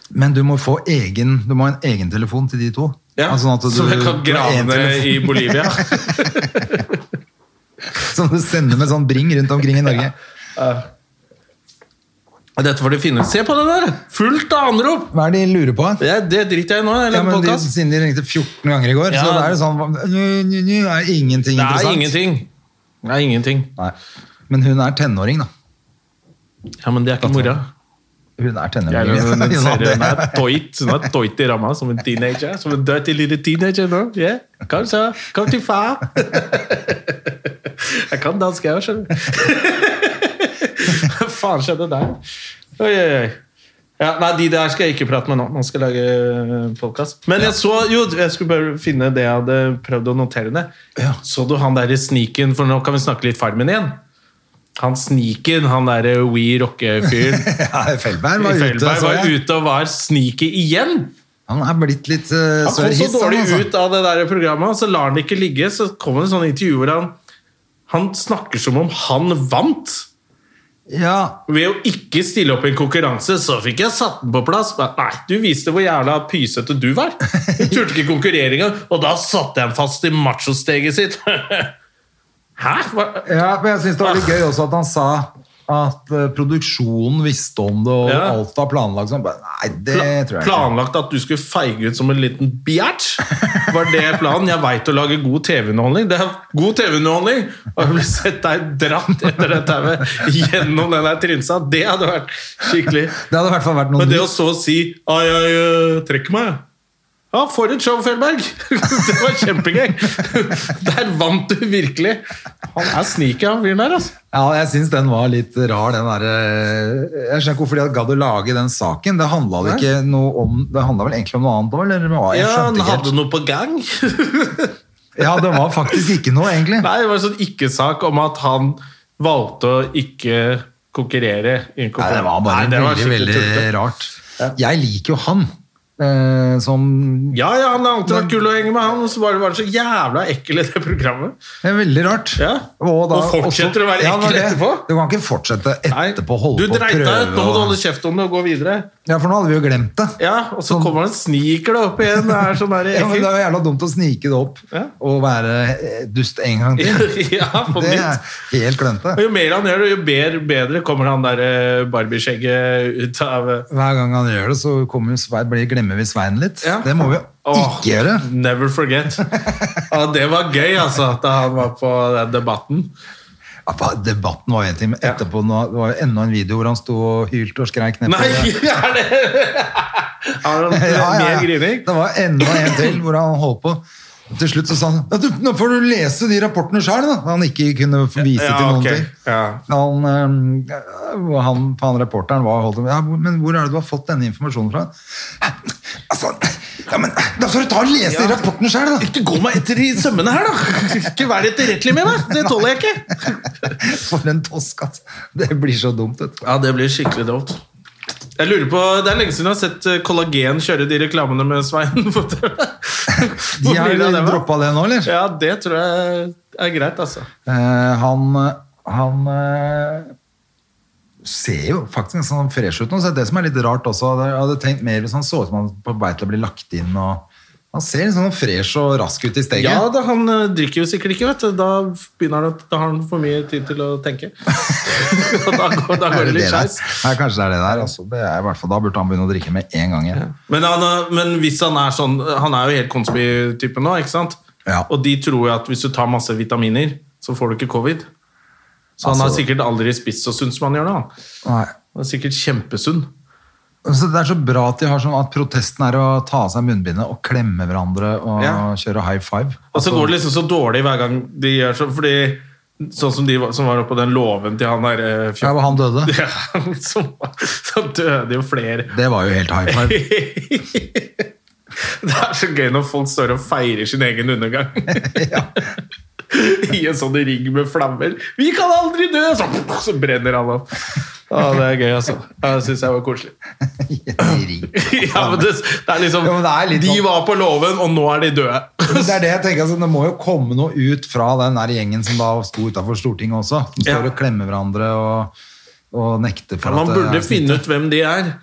Men du må få egen Du må ha en egen telefon til de to.
Ja,
Altså, sånn at
som jeg kan
du har en
grave
telefon
i Bolivia.
Som du sender med sånn bring rundt omkring i Norge.
Dette får de finne. Se på det der! Fullt av anrop!
Hva er det de lurer på?
Det, det driter jeg i nå. Jeg
Ja,
lager
men de,
podcast.
siden de ringte 14 ganger i går,
Ja.
så da er det sånn hva- nu, nu, nu, er ingenting
det er
interessant.
ingenting. Det er ingenting.
Nei. Men hun er tenåring, da.
Ja, men det er ikke mora.
Hun er
Jeg
tenåring.
er jo- den
Hun
ser-
hadde-
den er toit Hun er toit i ramma som en teenager. Som en dirty lille teenager nå. Ja, Kom så, kom til far! Jeg kan dansk, jeg òg, skjønner du. Hva faen skjedde der? Oi, oi, oi. Ja, nei, de der skal jeg ikke prate med nå. Man skal lage podkast. Men jeg så Jo, jeg skulle bare finne det jeg hadde prøvd å notere ned.
Ja.
Så du han der i sniken, for nå kan vi snakke litt Farmen igjen. Han sniken, han derre We Rocke-fyren.
Ja, Feldberg var ute.
Feldberg
så
var
jeg.
ute og var sneaky igjen.
Han er blitt litt uh,
Han kom så
sørhiss.
dårlig
altså.
ut av det der programmet, og så lar han det ikke ligge. Så kom det sånne intervju hvor han, han snakker som om han vant.
Ja,
Ved å ikke stille opp i en konkurranse, så fikk jeg satt den på plass. Men nei, du viste hvor jævla pysete du var. Du turte ikke konkurrere engang, og da satte jeg den fast i machosteget sitt. Hæ? Hva?
ja, men jeg syns det var litt gøy også at han sa at eh, produksjonen visste om det, og
Ja.
alt var planlagt. Så han bare, nei, det tror jeg ikke.
Planlagt at du skulle feige ut som en liten bjert? Var det planen? Jeg veit å lage god TV-underholdning. Det er god TV-underholdning! Og jeg ble sett deg dratt etter det tauet gjennom den der trinsa. Det hadde vært skikkelig
Det hadde i hvert fall vært noe
Men det å
nytt.
så si Ai, ai, eh, trekk meg. Ja, for et show, Felberg! Det var kjempegøy! Der vant du virkelig! Han er sneaky, han fyren der, altså.
Ja, jeg syns den var litt rar, den derre Jeg skjønner ikke hvorfor de hadde gadd å lage den saken. Det handla vel ikke noe om Det handla vel egentlig om noe annet òg, eller hva? Jeg
Ja, han
skjønte ikke
hadde
helt.
noe på gang.
Ja, det var faktisk ikke noe, egentlig.
Nei, det var en sånn ikke-sak om at han valgte å ikke konkurrere. i en
Nei, det var
konkurranse.
bare
Nei, det var
veldig,
skikkelig
veldig
tullete.
rart. Jeg liker jo han eh, som
Ja, ja, han har alltid vært kul å henge med, han. Og så bare var det så jævla ekkel i det programmet.
Det er veldig rart.
Ja. Og fortsetter å være
Ja, det var
ekkel
det.
etterpå?
Du kan ikke fortsette
Nei,
etterpå,
du
holde på å
dreit deg
prøve.
ut, nå må du
og-
holde kjeft om det og gå videre.
Ja, for nå hadde vi jo glemt det.
Ja, Og så
Sånn.
kommer han og sniker deg opp igjen. Det er sånn der,
Ja, men det er jo jævla dumt å snike det opp
Ja.
og være eh, dust en gang til.
ja, på
Det
nytt.
er helt klønete.
Og jo mer han gjør det, jo bedre, bedre kommer han der eh, barbieskjegget ut av eh,
Hver gang han gjør det, så kommer jo Svein, blir, glemmer vi Svein litt.
Ja.
Det må vi jo
Åh.
ikke gjøre.
Never forget. Ja, det var gøy, altså, at han var på den debatten.
Ja, hva- Debatten var en time
Ja.
etterpå. Nå, det var jo enda en video hvor han sto og hylte og skreik nedpå.
Nei, er det Har han mer grining?
Det var enda en til hvor han holdt på. Til slutt så sa han ja, du, nå får du lese de rapportene sjøl, da. Han ikke kunne vise
Ja,
til noen
ok.
ting.
Ja.
Han, eh, han, han reporteren var holdt ja, hvor- Men hvor er det du har fått denne informasjonen fra? Altså, ja, men da får du ta og lese de rapportene sjøl, da!
Ikke gå meg etter i sømmene her, da! Ikke vær etterrettelig med meg! Det tåler jeg ikke!
For en tosk, altså. Det blir så dumt, vet du.
Ja, det blir skikkelig dumt. Jeg lurer på, Det er lenge siden jeg har sett eh, Kollagen kjøre de reklamene med Svein. på TV. Hvor
De har
blir det av dem, da?
droppa det nå, eller?
Ja, det tror jeg er greit, altså.
Eh, han han eh, ser jo faktisk ganske sånn fresh ut nå, så det er det som er litt rart også. Jeg hadde tenkt mer hvis han så ut som han var på vei til å bli lagt inn. Og, han ser litt sånn fresh og rask ut i steget.
Ja, da, han eh, drikker jo sikkert ikke, vet du. Da, begynner han, å- da har han for mye tid til å tenke. Og da, går, da
Er
går det litt
der?
skeis.
Nei, kanskje det er det der. Altså, det er, i hvert fall, da burde han begynne å drikke med en gang igjen.
Men, han, eh, men hvis han er sånn Han er jo helt konspi-type nå, ikke sant?
Ja.
Og de tror jo at hvis du tar masse vitaminer, så får du ikke covid. Så han har
Altså-
sikkert aldri spist så sunt som han gjør nå. han.
Nei.
Han er sikkert kjempesunn.
Så det er så bra at de har sånn at protesten er å ta av seg munnbindet og klemme hverandre og
Ja.
kjøre high five.
Og så går det liksom så dårlig hver gang de gjør sånn, fordi sånn som de var- som var oppå den låven til han der eh,
Ja,
fjor-
hvor han døde.
Ja, som, så døde jo flere.
Det var jo helt high five.
Det er så gøy når folk står og feirer sin egen undergang. I en sånn ring med flammer. 'Vi kan aldri dø!' Så, så brenner alle opp. Å, det er gøy, altså. Ja, Det syns jeg var koselig. Ja, men det, det er liksom,
Jo, men det er litt
De
sånn-
var på låven, og nå er de døde.
Men Det er det jeg tenker, altså, det må jo komme noe ut fra den der gjengen som da sto utenfor Stortinget også. Som
Ja.
står og klemmer hverandre og, og nekter for
Man
at eh,
burde finne ut hvem de er.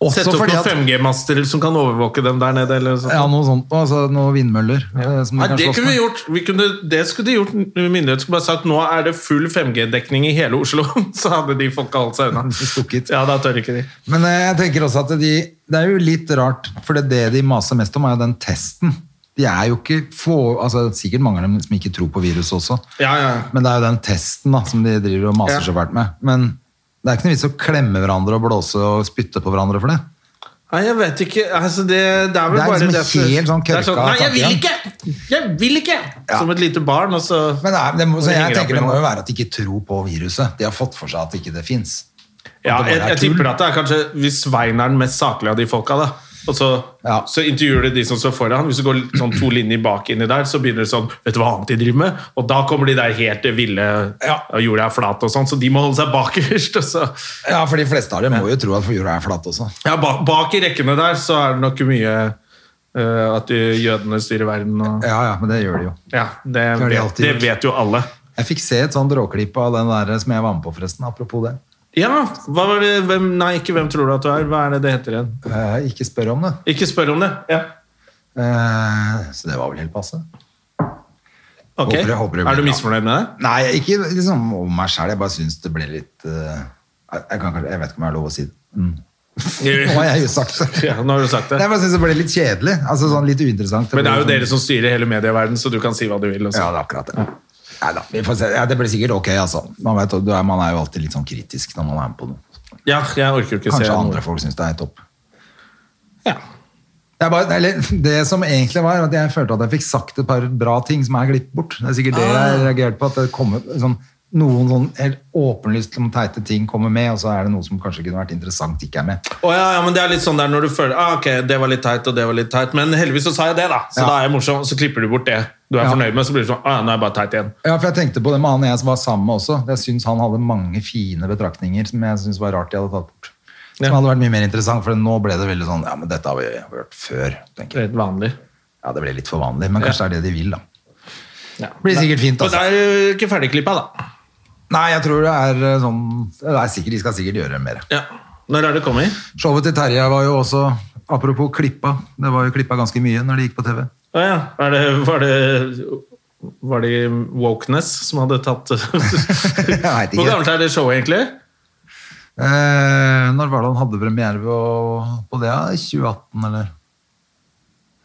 Også
Sette opp
fordi
noen
at-
5G-master som kan overvåke dem der nede. Eller sånt.
Ja, noe sånt. Altså noen vindmøller. eh, Som de
Nei,
kan
det
slåss
kunne
med.
vi gjort. Vi kunne, det skulle de gjort. Myndighetene skulle bare sagt nå er det full 5G-dekning i hele Oslo. Så hadde de folka holdt seg unna.
Stukket.
Ja, da tør ikke de.
Men eh, jeg tenker også at de, det er jo litt rart, for det, det de maser mest om, er jo den testen. De er jo ikke få, altså Sikkert mange av dem som ikke tror på viruset også.
Ja, ja.
Men det er jo den testen da, som de driver og maser
Ja.
så fælt med. Men det er ikke noe vits å klemme hverandre og blåse og spytte på hverandre for det.
Nei, jeg vet ikke. Altså, det, det er vel
Det er
bare
liksom
det at-
helt sånn
det er
kørka
Nei, jeg vil ikke! Jeg vil ikke!
Ja.
Som et lite barn, og så
Men det, er, det, må, så jeg
henger opp
tenker
i
det må
noe.
jo være at de ikke tror på viruset. De har fått for seg at ikke det fins.
Ja,
at det bare
jeg,
er
jeg
tull.
tipper at det er kanskje hvis Svein er den mest saklige av de folka, da. Og så,
Ja.
så intervjuer du de som står foran. Hvis du går litt sånn to linjer bak inni der, så begynner det sånn Vet du hva annet de driver med? Og da kommer de der helt ville
Ja.
og jorda er flat og sånn, så de må holde seg bakerst. Og så.
Ja, for de fleste av dem må jo tro at jorda er flat også.
Ja, bak, bak i rekkene der så er det nok mye eh, at de jødene styrer verden og
Ja, ja, men det gjør de jo.
Ja, det,
har de
vet,
alltid
det
gjort.
vet jo alle.
Jeg fikk se et sånt råklipp av den der som jeg var med på, forresten. Apropos det.
Ja, hva var det hvem, Nei, ikke hvem tror du at du er. Hva er det det heter igjen?
Eh, ikke spør om det.
Ikke spør om det. Ja.
Eh, så det var vel helt passe.
Ok.
Håper det- håper det blir
er du
bra.
misfornøyd med det?
Nei, ikke liksom om meg sjæl. Jeg bare syns det ble litt eh, jeg, jeg, kan, kanskje- jeg vet ikke om jeg har lov å si det. Mm. Nå har jeg jo sagt det.
Ja, nå har du sagt
Jeg
det.
bare syns det ble litt kjedelig. Altså sånn litt uinteressant.
Men det er jo dere som styrer hele medieverdenen, så du kan si hva du vil. Også.
Ja, det er akkurat det. Nei da, vi får se. Ja, det blir sikkert ok, altså. Man, vet, du er, man er jo alltid litt sånn kritisk når man er med på noe.
Ja, jeg orker jo ikke se
Kanskje
noe.
andre folk syns det er topp.
Ja.
Det, er bare, eller, det som egentlig var, at jeg følte at jeg fikk sagt et par bra ting som er glipp bort. Det er sikkert det
Ah.
jeg reagerte på. At det kommer sånn, noen sånn helt åpenlyst om teite ting kommer med, og så er det noe som kanskje kunne vært interessant ikke er med.
Å, ja, ja, men det er litt sånn der når du føler ah, ok, det var litt teit, og det var litt teit, men heldigvis så sa jeg det, da. Så
Ja.
da er jeg morsom, og så klipper du bort det du er
Ja.
fornøyd med, så blir det sånn ah, ja, nå er jeg bare teit igjen.
Ja, for jeg tenkte på det med han jeg som var sammen med også. Jeg syns han hadde mange fine betraktninger som jeg syns var rart de hadde tatt bort. Som
Ja.
hadde vært mye mer interessant, for nå ble det veldig sånn Ja, men dette har vi hørt før, tenker jeg.
Helt vanlig.
Ja, det ble litt for vanlig, men kanskje det er det de vil, da.
Ja.
Blir sikkert fint,
Men
altså.
det er jo ikke ferdigklippa, da.
Nei, jeg tror det er eh, sånn Det er sikkert, De skal sikkert gjøre mer.
Ja. Når er det kommet?
Showet til Terje var jo også Apropos klippa. Det var jo klippa ganske mye når det gikk på TV.
Å ja. Er det, var det var det Wokeness som hadde tatt
Jeg vet
Hvor
ikke.
gammelt er det showet, egentlig?
Eh, når var det han hadde premiere på, på det? ja? 2018, eller?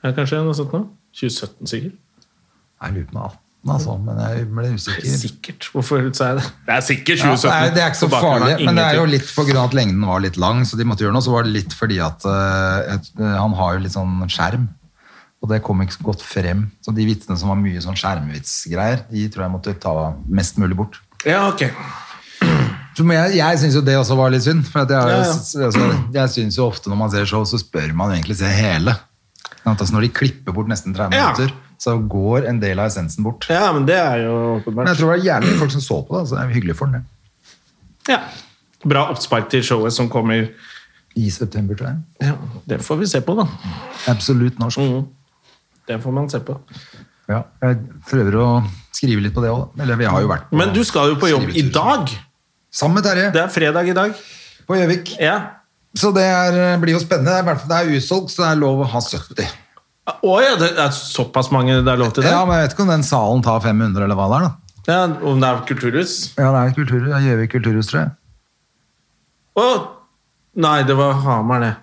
Ja, kanskje noe sånt nå? 2017, sikkert?
Jeg lurer på meg 18, altså, men jeg ble usikker.
Sikkert. Hvorfor sa jeg det? Det er sikkert 2017.
Ja, nei, det er ikke så
På bakgrunn av
farlig, men det er jo
ingenting.
litt på grunn av at lengden var litt lang, så de måtte gjøre noe. Så var det litt fordi at eh, et, eh, han har jo litt sånn skjerm, og det kom ikke så godt frem. Så de vitsene som var mye sånn skjermvitsgreier, de tror jeg måtte ta mest mulig bort.
Ja, ok.
Så, Men jeg, jeg syns jo det også var litt synd, for at jeg, har jo
Ja, ja.
s- altså, jeg syns jo ofte når man ser show, så spør man jo egentlig se hele. Sånn at Altså, når de klipper bort nesten 30
Ja.
minutter, så går en del av essensen bort.
Ja, men det er jo
Men jeg
åpenbart.
tror det var jævlig mange folk som så på det, så det er hyggelig for den. det.
Ja. Bra oppspark til showet som kommer.
I september, tror jeg.
Ja, det får vi se på, da.
Absolutt norsk.
Mm. Det får man se på.
Ja, jeg prøver å skrive litt på det òg. Eller vi har jo vært på
Men du skal jo på jobb i
skrivetur.
dag.
Sammen med
Det
Terje
er fredag i dag.
på Gjøvik.
Ja.
Så det er, blir jo spennende. Det er, i hvert fall- det er usolgt, så det er lov å ha 70.
Å ja, det er såpass mange det er lov til det?
Ja, men Jeg vet ikke om den salen tar 500, eller hva det er. da.
Ja, om det er kulturhus?
Ja, det er kultur, det er Gjøvik kulturhus, tror jeg.
Å! Nei, det var Hamar, det.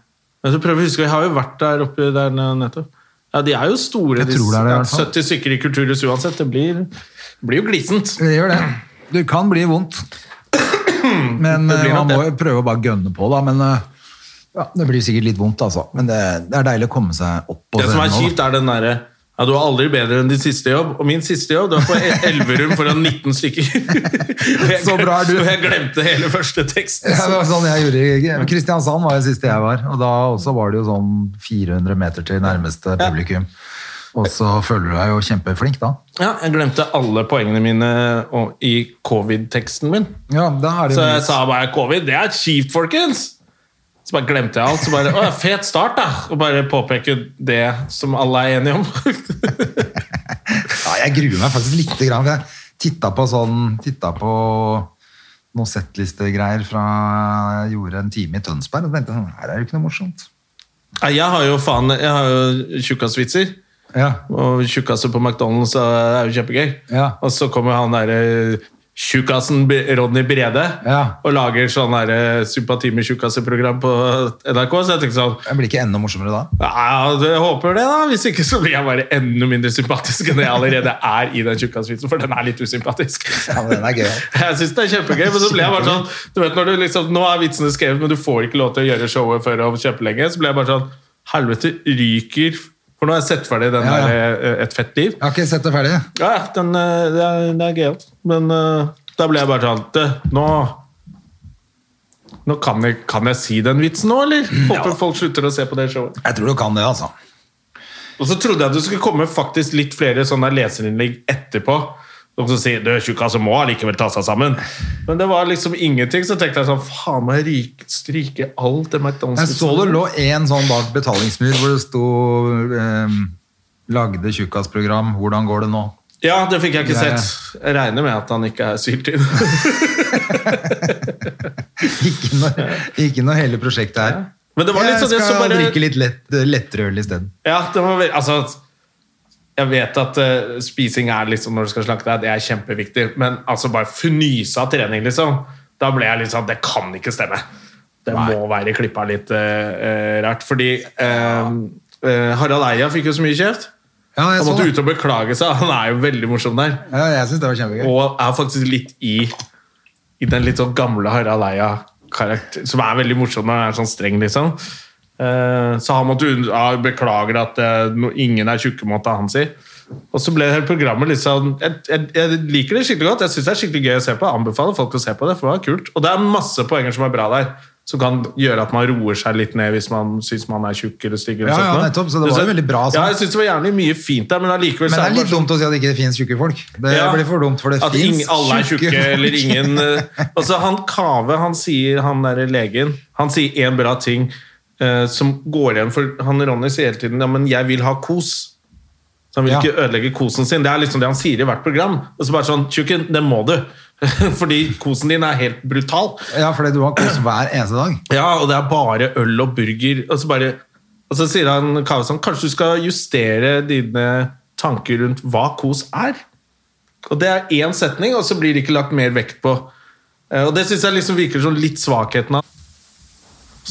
Jeg skal prøve å huske, Vi har jo vært der oppe der nede nettopp. Ja, De er jo store.
Jeg
de-
tror det er det, i
ja,
hvert fall.
70 stykker i kulturhus uansett. Det blir, det blir jo glisent.
Det gjør det. Det kan bli vondt. Men
Det blir
eh,
nok
man må
det.
jo prøve å bare gønne på, da. Men eh, ja, det blir sikkert litt vondt, altså. Men det, det er deilig å komme seg opp på
Det som er
scenen nå, da.
kjipt, er den derre ja, Du var aldri bedre enn din siste jobb. Og min siste jobb, det var på El- Elverum foran 19 stykker. Og jeg
Så bra er du.
glemte- Og jeg glemte hele første teksten.
Ja, det var sånn jeg gjorde i- Kristiansand var det siste jeg var, og da også var det jo sånn 400 meter til nærmeste publikum. Og så føler du deg jo kjempeflink da.
Ja, jeg glemte alle poengene mine og- i covid-teksten min.
Ja, da er det
Så
jo
jeg sa bare covid, det er kjipt, folkens! Så bare glemte jeg alt. Så bare, å, Fet start, da! Og bare påpeke det som alle er enige om.
ja, Jeg gruer meg faktisk lite grann. for Jeg titta på sånn Titta på noen settlistegreier fra Jeg gjorde en time i Tønsberg, og tenkte sånn Her er det jo ikke noe morsomt.
Nei, Jeg har jo faen, jeg har jo tjukkasvitser.
Ja.
Og tjukkaser på McDonald's og det er jo kjempegøy.
Ja.
Og så kommer han derre tjukkasen B- Ronny Brede
Ja.
og lager sånn derre sympati med tjukkaser-program på NRK. Så jeg tenkte sånn
Jeg blir ikke enda morsommere da.
ja, Jeg håper det, da. Hvis ikke så blir jeg bare enda mindre sympatisk enn jeg allerede er i den tjukkasvitsen, for den er litt usympatisk.
Ja, men den er gøy.
Jeg syns det er kjempegøy, men så ble jeg bare sånn du vet, når du liksom, Nå er vitsene skrevet, men du får ikke lov til å gjøre showet før om kjempelenge. Så ble jeg bare sånn Helvete, ryker For nå har jeg sett ferdig den
Ja, ja.
der eh, Et fett liv.
Jeg har ikke sett det ferdig.
Ja, ja, den, eh, det
altså.
er, det er gøyalt. Men eh, da ble jeg bare sånn «Det, Nå Nå kan jeg, kan jeg si den vitsen nå, eller? Håper folk slutter å se på det showet.
Jeg tror du kan det, altså.
Og så trodde jeg det skulle komme faktisk litt flere sånne leserinnlegg etterpå. Som som sier 'du tjukkas må allikevel ta seg sammen'. Men det var liksom ingenting. Så tenkte jeg sånn faen må jeg ryke- stryke alt det liksom?"
Jeg så det
McDonald's-vitsen.
lå en sånn bak betalingsmur hvor det sto ehm, Lagde tjukkasprogram, hvordan går det nå?
Ja, det fikk jeg ikke
Ja, ja.
sett. Jeg regner med at han ikke er syltynn.
Ikke når, ikke når hele prosjektet er
Men det var litt
Jeg
sånn
skal
jeg så bare
drikke litt lett, lettrøl isteden.
Ja, det var veldig Altså jeg vet at eh, spising er liksom når du skal slanke deg, det er kjempeviktig, men altså bare fnyse av trening, liksom. Da ble jeg litt sånn Det kan ikke stemme. Det må være klippa litt eh, eh, rart. Fordi eh, eh, Harald Eia fikk jo så mye kjeft.
Ja, jeg
Han
så
måtte
det.
ut og beklage seg. Han er jo veldig morsom der.
Ja, jeg syns det var kjempegøy.
Og er faktisk litt i I den litt sånn gamle Harald Eia-karakter Som er veldig morsom når han er sånn streng liksom Eh, Så han måtte un- ja, beklager at eh, no- ingen er tjukke måtte han si Og så ble hele programmet litt sånn jeg, jeg, jeg liker det skikkelig godt Jeg synes det er skikkelig gøy å se på Jeg anbefaler folk å se på det, for det var kult Og det er masse poenger som er bra der Som kan gjøre at man roer seg litt ned Hvis man synes man er tjukk eller stygg eller
Ja,
sånt
ja,
noe.
nettopp, så det
Du
var jo
ser-
veldig bra, sånn.
Ja, jeg synes det var gjerne mye fint der Men allikevel
Men det
så
er
bare
litt
sånn-
dumt å si at det ikke finnes tjukke folk. Det
ja.
blir for dumt, for det
At
fins
ingen- alle er tjukke eller ingen eh, Altså, han Kave, han sier, han derre legen, han sier én bra ting eh, som går igjen for Han Ronny sier hele tiden ja, men 'jeg vil ha kos'. Så han vil
Ja.
ikke ødelegge kosen sin. Det er liksom det han sier i hvert program. Og så bare sånn 'Tjukken, det må du'. Fordi kosen din er helt brutal.
Ja, fordi du har kos hver eneste dag.
Ja, og det er bare øl og burger. Og så, bare, og så sier han Kave sånn Kanskje du skal justere dine tanker rundt hva kos er? Og det er én setning, og så blir det ikke lagt mer vekt på. Eh, Og det syns jeg liksom virker som litt svakheten av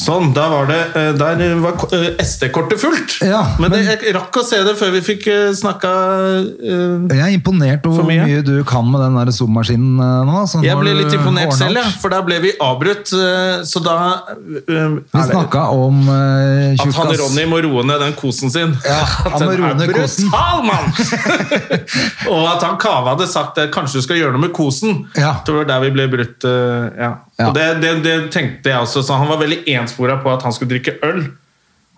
Sånn, der var det eh, Der var ko- eh, SD-kortet fullt!
Ja,
men det,
men-
jeg rakk å se det før vi fikk eh, snakka eh,
Jeg er imponert over hvor
For mye?
mye? du kan med den der Zoom-maskinen eh, nå. så nå
Jeg
har
ble
du
litt imponert
ordnet
selv,
opp.
jeg, for da ble vi avbrutt. eh, Så da
Vi
Vi
snakka om eh,
At han
tjukkas.
Ronny må roe ned den kosen sin.
Ja,
at
han må
den
roe
er
ned kosen.
brutal, mann! og at han Kave hadde sagt at kanskje du skal gjøre noe med kosen.
Ja.
Det var der vi ble brutt. eh, Ja.
Ja.
Og det, det, det tenkte jeg også, så han var veldig enspora på at han skulle drikke øl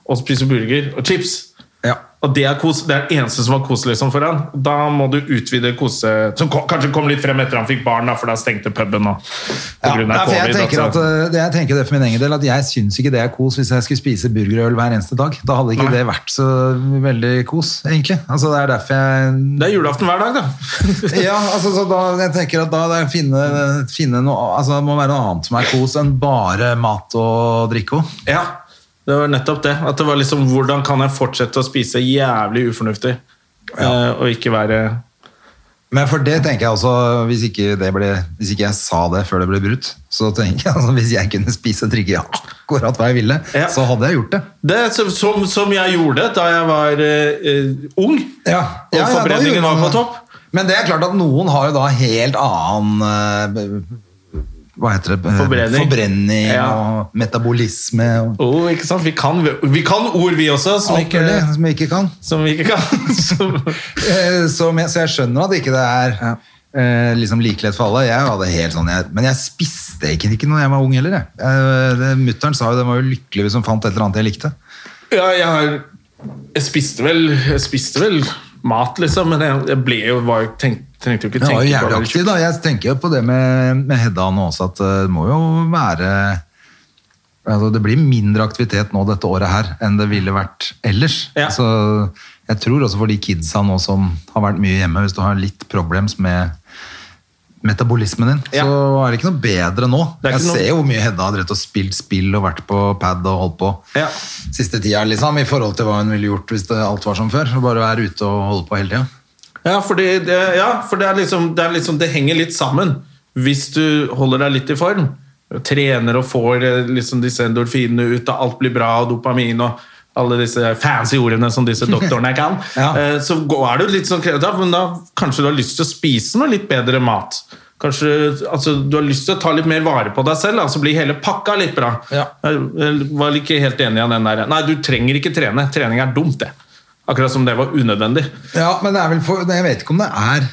og spise burger og chips.
Ja.
Og det er, kos, det er det eneste som var kos liksom, for han. Da må du utvide kose... Som kom, kanskje kom litt frem etter han fikk barn, da, for da stengte puben nå. på
Ja,
grunn
nei,
av
for jeg,
covid,
tenker at,
altså.
eh, det- jeg tenker det for min egen del at jeg syns ikke det er kos hvis jeg skulle spise burgerøl hver eneste dag. Da hadde ikke
Nei.
det vært så veldig kos, egentlig. Altså, det er derfor jeg
Det er julaften hver dag, da.
ja, altså, så da, jeg tenker at da det er finne, finne noe, altså, det må være noe annet som er kos enn bare mat og drikke. også.
Ja, det var nettopp det. At det var liksom hvordan kan jeg fortsette å spise jævlig ufornuftig? Eh, og ikke være
Men for det tenker jeg også, hvis ikke, det ble, hvis ikke jeg sa det før det ble brutt, så tenker jeg altså, hvis jeg kunne spise og drikke akkurat hva jeg ville,
Ja.
så hadde jeg gjort det.
det, er som- som, som jeg gjorde da jeg var eh, eh, ung. Og
da
forbrenningen
gjorde
var
man
på
det.
topp.
Men det er klart at noen har jo da helt annen eh, Hva heter det?
Forbrenning.
Forbrenning
Ja.
og metabolisme og
Oh, ikke sant? Vi kan, vi kan ord, vi også, som,
alt
ikke,
mulig som jeg ikke kan.
som vi ikke kan. Som,
Eh, så, men, så jeg skjønner at ikke det er eh, liksom like lett for alle. Jeg hadde helt sånn, jeg, men jeg spiste ikke, ikke når jeg var ung heller. Jeg. Eh, det- Mutteren sa jo den var jo lykkelig hvis hun fant et eller annet jeg likte.
ja, jeg, har- jeg spiste vel Jeg spiste vel mat, liksom, men jeg, jeg ble jo var, jo- tenk, trengte jo ikke
Jeg var jo
tenke
jævlig aktiv, da. Jeg tenker jo på det med, med Hedda nå også, at eh, det må jo være altså, Det blir mindre aktivitet nå dette året her enn det ville vært ellers.
Ja.
Så jeg tror også for de kidsa nå som har vært mye hjemme, hvis du har litt problems med metabolismen din,
Ja.
så er det ikke noe bedre nå.
Det er
Jeg
ikke noe-
ser jo hvor mye Hedda har drevet og spilt spill og vært på pad og holdt på
Ja.
siste tida, liksom, i forhold til hva hun ville gjort hvis det alt var som før. Så bare være ute og holde på hele tida.
Ja, fordi det, ja, for det, er liksom, det er liksom Det henger litt sammen. Hvis du holder deg litt i form, trener og får eh, liksom disse endorfinene ut, og alt blir bra, og dopamin og alle disse fancy ordene som disse doktorene kan,
Ja.
eh, så går- er du litt sånn krevet av, men da kanskje du har lyst til å spise noe litt bedre mat. Kanskje altså, du har lyst til å ta litt mer vare på deg selv, da, så blir hele pakka litt bra.
Ja.
Jeg var ikke helt enig i den der. Nei, du trenger ikke trene. Trening er dumt, det. Akkurat som det var unødvendig.
Ja, men det er vel for, jeg vet ikke om det er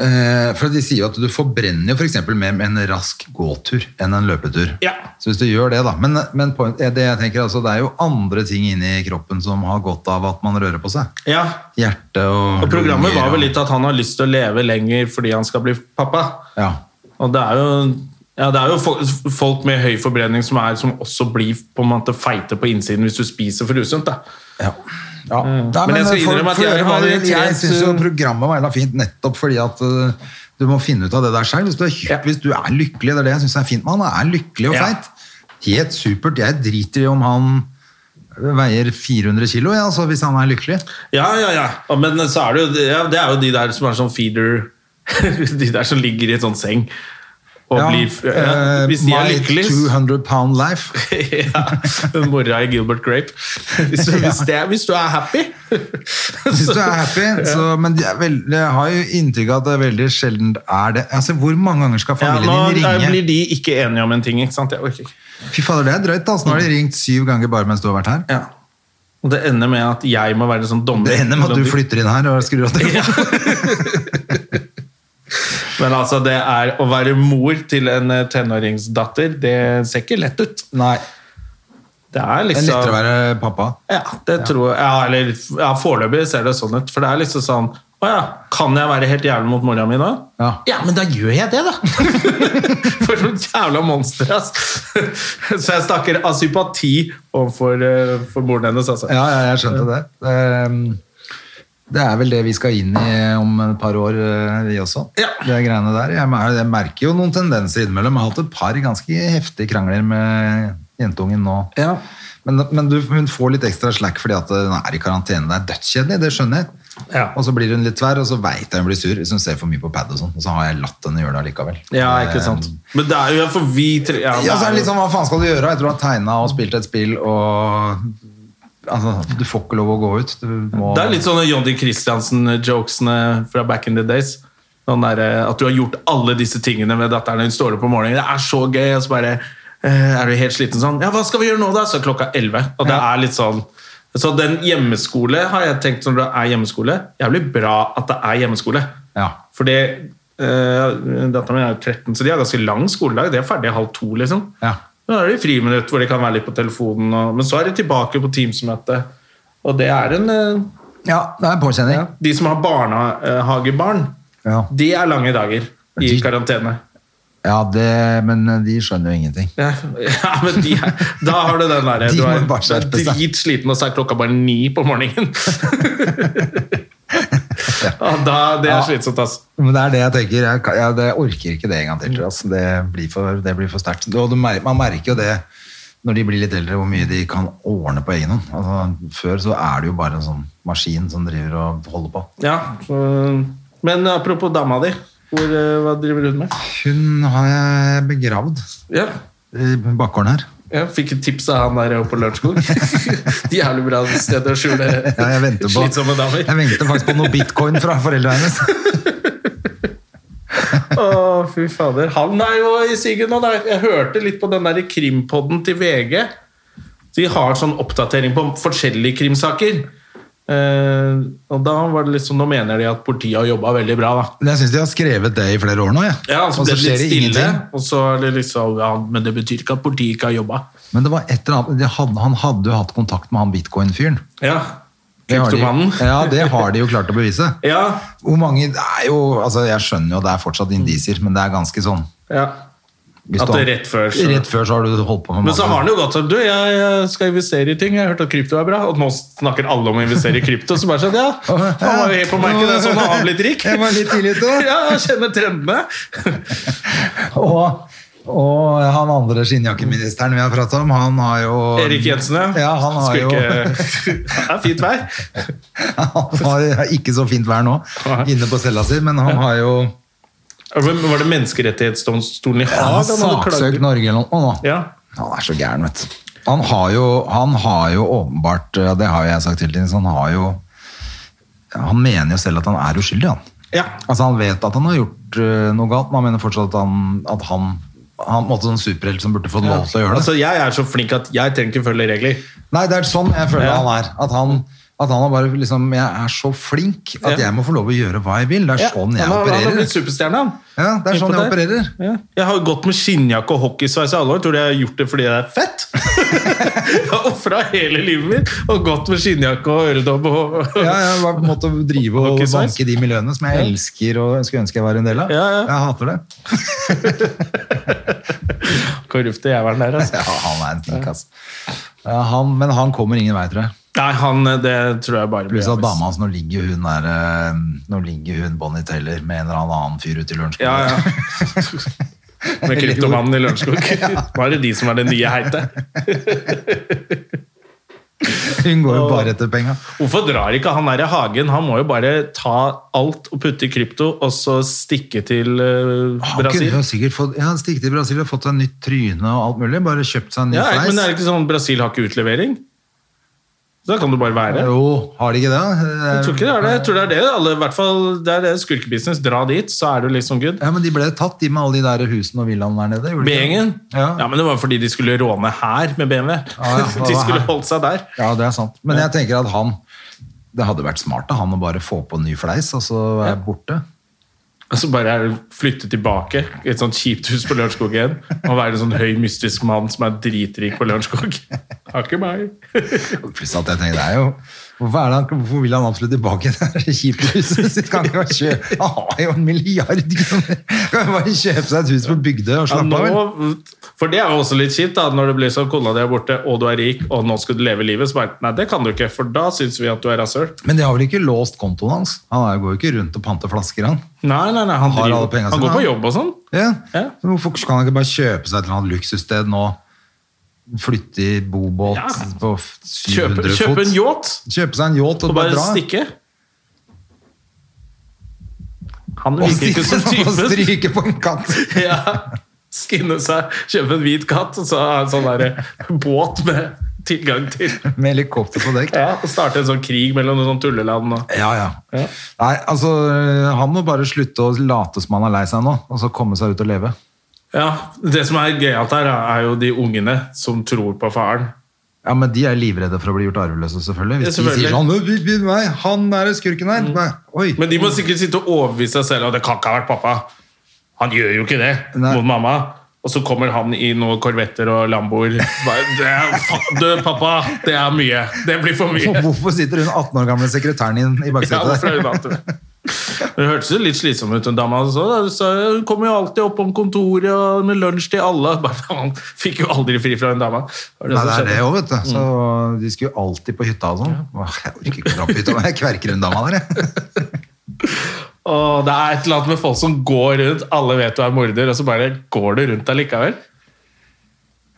Eh, For de sier jo at du forbrenner jo for eksempel mer med en rask gåtur enn en løpetur.
Ja.
Så hvis du gjør det da, men, men point, eh, det, jeg tenker, altså, det er jo andre ting inni kroppen som har godt av at man rører på seg.
Ja.
Hjerte og...
Og programmet
lunger
var vel
og-
litt at han har lyst til å leve lenger fordi han skal bli pappa.
Ja.
Og det er jo, ja, det er jo fo- folk med høy forbrenning som, er, som også blir på en måte feite på innsiden hvis du spiser for usunt. da.
Ja. Ja. Nei,
Men jeg skal
for-
innrømme at
for
jeg
øvrig
har
var det-
trent-
Jeg syns jo programmet var jævla fint nettopp fordi at eh, du må finne ut av det der selv. Hvis du er, tjukk,
Ja.
hvis du er lykkelig, det er det jeg syns er fint med han. Han er lykkelig og
Ja.
feit. Helt supert. Jeg driter i om han veier 400 kilo, ja, altså, hvis han er lykkelig.
Ja, ja, ja. Og Men så er det jo, ja, det er jo de der som er sånn feeder De der som ligger i et sånn seng og
Ja,
blir ja,
eh,
Hvis de er
my
lykkelige
200 pound life.
ja, Mora i Gilbert Grape. Hvis du, hvis, det, hvis du er happy
Hvis du er happy, så, men jeg, vel, jeg har jo inntrykk av at det veldig sjelden er det. Altså, Hvor mange ganger skal
ja, Nå
familien din
er-
ringe?
blir de ikke enige om en ting, ikke sant? Jeg orker ikke.
Fy fader, det er drøyt. Altså. Nå har de ringt syv ganger bare mens du har vært her.
Ja. Og det ender med at jeg må være sånn dommer.
Det ender med at du flytter inn her og skrur av telefonen.
Men altså, det er å være mor til en eh, tenåringsdatter, det ser ikke lett ut.
Nei,
Det
det
er
er lettere å
liksom
være pappa.
Ja, det tror jeg. Ja, eller ja, foreløpig ser det sånn ut. For det er liksom sånn Å ja, kan jeg være helt jævlig mot mora mi nå?
Ja.
men da gjør jeg det, da! For noen jævla monster, ass. Så jeg snakker av sympati overfor eh, for moren hennes, altså.
Ja, ja, jeg skjønte det. Ehm, Det er vel det vi skal inn i om et par år, eh, vi også.
Ja.
Det greiene der. Jeg mer- jeg merker jo noen tendenser innimellom. Jeg har hatt et par ganske heftige krangler med jentungen nå.
Ja.
Men, men du, hun får litt ekstra slack fordi at eh, hun er i karantene. Det er dødskjedelig, det skjønner jeg.
Ja.
Og så blir hun litt tverr, og så veit jeg hun blir sur hvis hun ser for mye på pad og sånn. Og så har jeg latt henne gjøre det allikevel.
Ja, ikke sant. Men det er jo for vi tre ja,
Eh. Ja, så er det
det er
litt
jo-
sånn, hva faen skal du gjøre etter du har tegnet og spilt et spill og altså, du får ikke lov å gå ut. Du må...
Det er litt sånne Johnny Christiansen-jokesene fra back in the days. Sånn der, eh, at du har gjort alle disse tingene med datteren. Hun står opp om morgenen, det er så gøy. Og så bare eh, er du helt sliten sånn. Ja, hva skal vi gjøre nå, da? Så er klokka 11. Og det
Ja.
er litt sånn Så den hjemmeskole har jeg tenkt når det er hjemmeskole. Jævlig bra at det er hjemmeskole.
Ja.
Fordi eh, datteren min er jo 13, så de har ganske lang skoledag. De er ferdig halv to, liksom.
Ja.
Da er det friminutt hvor de kan være litt på telefonen, og, men så er de tilbake på Teams-møte. Og det er en eh,
ja, det er påkjenning.
De som har barnehagebarn,
Ja.
de er lange dager i
De-
karantene.
Ja, det, men de skjønner jo ingenting.
Ja, ja, men de er, Da har du den derre
De
Du
må
er
bare skjerpe seg.
dritsliten, og så er klokka bare ni på morgenen. ja, da, det
Ja.
er slitsomt, altså.
Men det er det jeg tenker. Jeg, kan- jeg, det- jeg orker ikke det en gang til. tror jeg, Altså. Det blir for, det blir for sterkt. Og du mer, man merker jo det når de blir litt eldre, hvor mye de kan ordne på egen hånd. Altså, før så er det jo bare en sånn maskin som driver og holder på.
Ja, så, men apropos dama di. Hvor, eh, hva driver hun med?
Hun har jeg begravd
Ja,
i bakgården her.
Jeg fikk et tips av han der oppe på Lørenskog. Jævlig bra sted å skjule
Ja, jeg venter på
slitsomme damer.
Jeg venter faktisk på noe bitcoin fra foreldrene hennes.
Å, fy fader. Han er jo i siget nå, da. Jeg hørte litt på den der krimpodden til VG. De har sånn oppdatering på forskjellige krimsaker. Eh, og da var det liksom, Nå mener de at politiet har jobba veldig bra, da.
Men jeg syns de har skrevet det i flere år nå, jeg.
Ja, altså,
Og så
det ble
skjer det
litt stille,
ingenting.
og så er det liksom ja, Men det betyr ikke at politiet ikke har jobba.
Men det var et eller annet, de hadde, han hadde jo hatt kontakt med han bitcoin-fyren.
Ja.
Det har de-
Kryptomannen.
Ja, det har de jo klart å bevise.
Ja.
Hvor mange, det er jo, altså Jeg skjønner jo det er fortsatt indisier, men det er ganske sånn
ja.
hvis
At
du har-
det er rett før, så-
Rett før så har du holdt på med
Men
masse.
så har han jo gått sånn Du, jeg eh, skal investere i ting. Jeg har hørt at krypto er bra. Og nå snakker alle om å investere i krypto. Så bare sånn, ja, han var jo helt på merket. Det er sånn han har blitt rik.
Jeg var litt tidlig ute.
Ja, jeg kjenner trendene.
Og, og han andre skinnjakkeministeren vi har pratet om, han har jo
Erik Jensen, ja.
ja han har
Skulle
jo
ikke Det er fint vær.
Han har ikke så fint vær nå inne på cella si, men han har jo
Var det menneskerettighetsdomstolen i
han har
Haag han hadde
saksøkt
klaget?
Norge eller noe nå.
Ja.
Han er så gæren, vet du. Han har jo, han har jo åpenbart, ja, det har jo jeg sagt hele tiden, så han har jo Han mener jo selv at han er uskyldig, han.
Ja.
Altså Han vet at han har gjort øh, noe galt, men han mener fortsatt at han, at han han måtte sånn superhelt som burde fått lov til å gjøre det.
Altså, jeg er så flink at jeg trenger ikke følge regler.
Nei, det er sånn jeg føler
Ja.
han er. At han, At han har bare liksom Jeg er så flink at
Ja.
jeg må få lov å gjøre hva jeg vil. Det er
Ja,
sånn jeg
han har- Han har
opererer.
blitt superstjerne, han.
Ja, det er sånn jeg
Innpå der.
opererer.
Ja. Jeg har jo gått med skinnjakke og hockeysveis i alle år. Tror du jeg har gjort det fordi det er fett? jeg har ofra hele livet mitt og gått med skinnjakke og øredobb og
Ja, jeg har måttet drive og
Hockeysveis.
banke de miljøene som jeg elsker og skulle ønske jeg var en del av.
Ja, ja.
Jeg hater det.
Korrupte jævelen der, altså.
Ja, han er en snik, ass. Ja, han, men han kommer ingen vei, tror jeg.
Nei, han, eh, det tror jeg bare blir
Pluss at
avvist.
dama hans, nå ligger jo hun der eh, Nå ligger hun Bonnie Taylor med en eller annen fyr ute i lunsj.
Ja, ja. Med kryptomannen i Lørenskog. Bare de som er det nye heite.
Hun går jo bare etter penga.
Hvorfor drar ikke han der i hagen? Han må jo bare ta alt og putte i krypto, og så stikke til eh,
Han
Brasil.
kunne jo sikkert fått ja, han stikket til Brasil og fått seg nytt tryne og alt mulig. Bare kjøpt seg en ny
Ja, er-
fleis.
men er det ikke sånn Brasil har ikke utlevering? Så da kan du bare være.
Jo, har de ikke det? da?
Jeg tror ikke det er det. Jeg tror det er det. Alle, i hvert fall, det er det skurkebusiness. Dra dit, så er du liksom good.
Ja, men de ble tatt, de med alle de der husene og villaene der nede. gjorde de ikke
B-gjengen?
det? Ja. Ah,
Ja, men det var fordi de skulle råne her med BMW.
Ja, ja, det
De
var
skulle
her.
holdt seg der.
Ja, det er sant. Men jeg tenker at han Det hadde vært smart av han å bare få på en ny fleis, og så er jeg borte.
Og så bare er- flytte tilbake i et sånt kjipt hus på Lørenskog igjen. Og være en sånn høy, mystisk mann som er dritrik på Lørenskog. Har ikke meg.
Pluss at jeg tenker, det er jo Hvorfor, er det, han- hvorfor vil han absolutt tilbake til det kjipe huset sitt? Kan ikke bare kjøpe Han har jo en milliard kroner! Kan jo bare kjøpe seg et hus på Bygdøy og
Ja,
slappe av? vel?
nå, for det er jo også litt kjipt da, når det blir sånn kona di er borte, og du er rik, og nå skal du leve livet. Så bare, nei, det kan du ikke, for da syns vi at du er rasshøl.
Men de har vel ikke låst kontoen hans? Han er- går jo ikke rundt og panter flasker, han.
Nei, nei, nei, han,
Har alle
driver,
pengene
han
sine,
går på
han.
jobb og sånn.
Ja.
Ja.
Så Hvorfor kan han ikke bare kjøpe seg et eller annet luksussted nå? Flytte i bobåt
Ja.
på
Kjøpe,
700
kjøpe en
fot?
yacht
Kjøpe seg en yacht og,
og
bare
bare
dra?
stikke. Han
Og
virker ikke som
sitte og
typen.
stryke på en katt!
Ja, skinne seg, kjøpe en hvit katt, og så ha en sånn der båt med tilgang til
Med helikopter på dekk.
ja, Og starte en sånn krig mellom noen sånn tulleland og
Ja, ja. Nei, altså, han må bare slutte å late som han er lei seg nå, og så komme seg ut og leve.
Ja, det som er gøyalt her, er jo de ungene som tror på faren.
Ja, men de er livredde for å bli gjort arveløse, selvfølgelig. Hvis
Ja,
de sier
selvfølgelig. Mm.
sånn, «Nå, vi- vi- nei, han er skurken her. Nei, oi.
Men de må sikkert sitte og overbevise seg selv at det kan ikke ha vært pappa. Han gjør jo ikke det
Nei.
mot mamma. Og så kommer han i noen korvetter og lamboer. Bare, Det er, fa- du, pappa, det er mye. Det blir for
Og
mye.
Hvorfor sitter hun 18 år gamle sekretæren din i
Ja,
baksetet
hvorfor er
der?
hun vant til det? Men det hørtes jo litt slitsom ut, den dama. også, da. Hun sa, Hun kommer jo alltid opp om kontoret og med lunsj til alle. Bare, Han fikk jo aldri fri fra den dama. Var
Nei,
som
det er
skjedde?
det òg, vet du. Så de skulle jo alltid på hytta og sånn. Åh, Jeg orker ikke å dra på hytta, men jeg kverker hun dama der, jeg.
Åh, det er et eller annet med folk som går rundt, alle vet du er morder, og så bare går du rundt allikevel.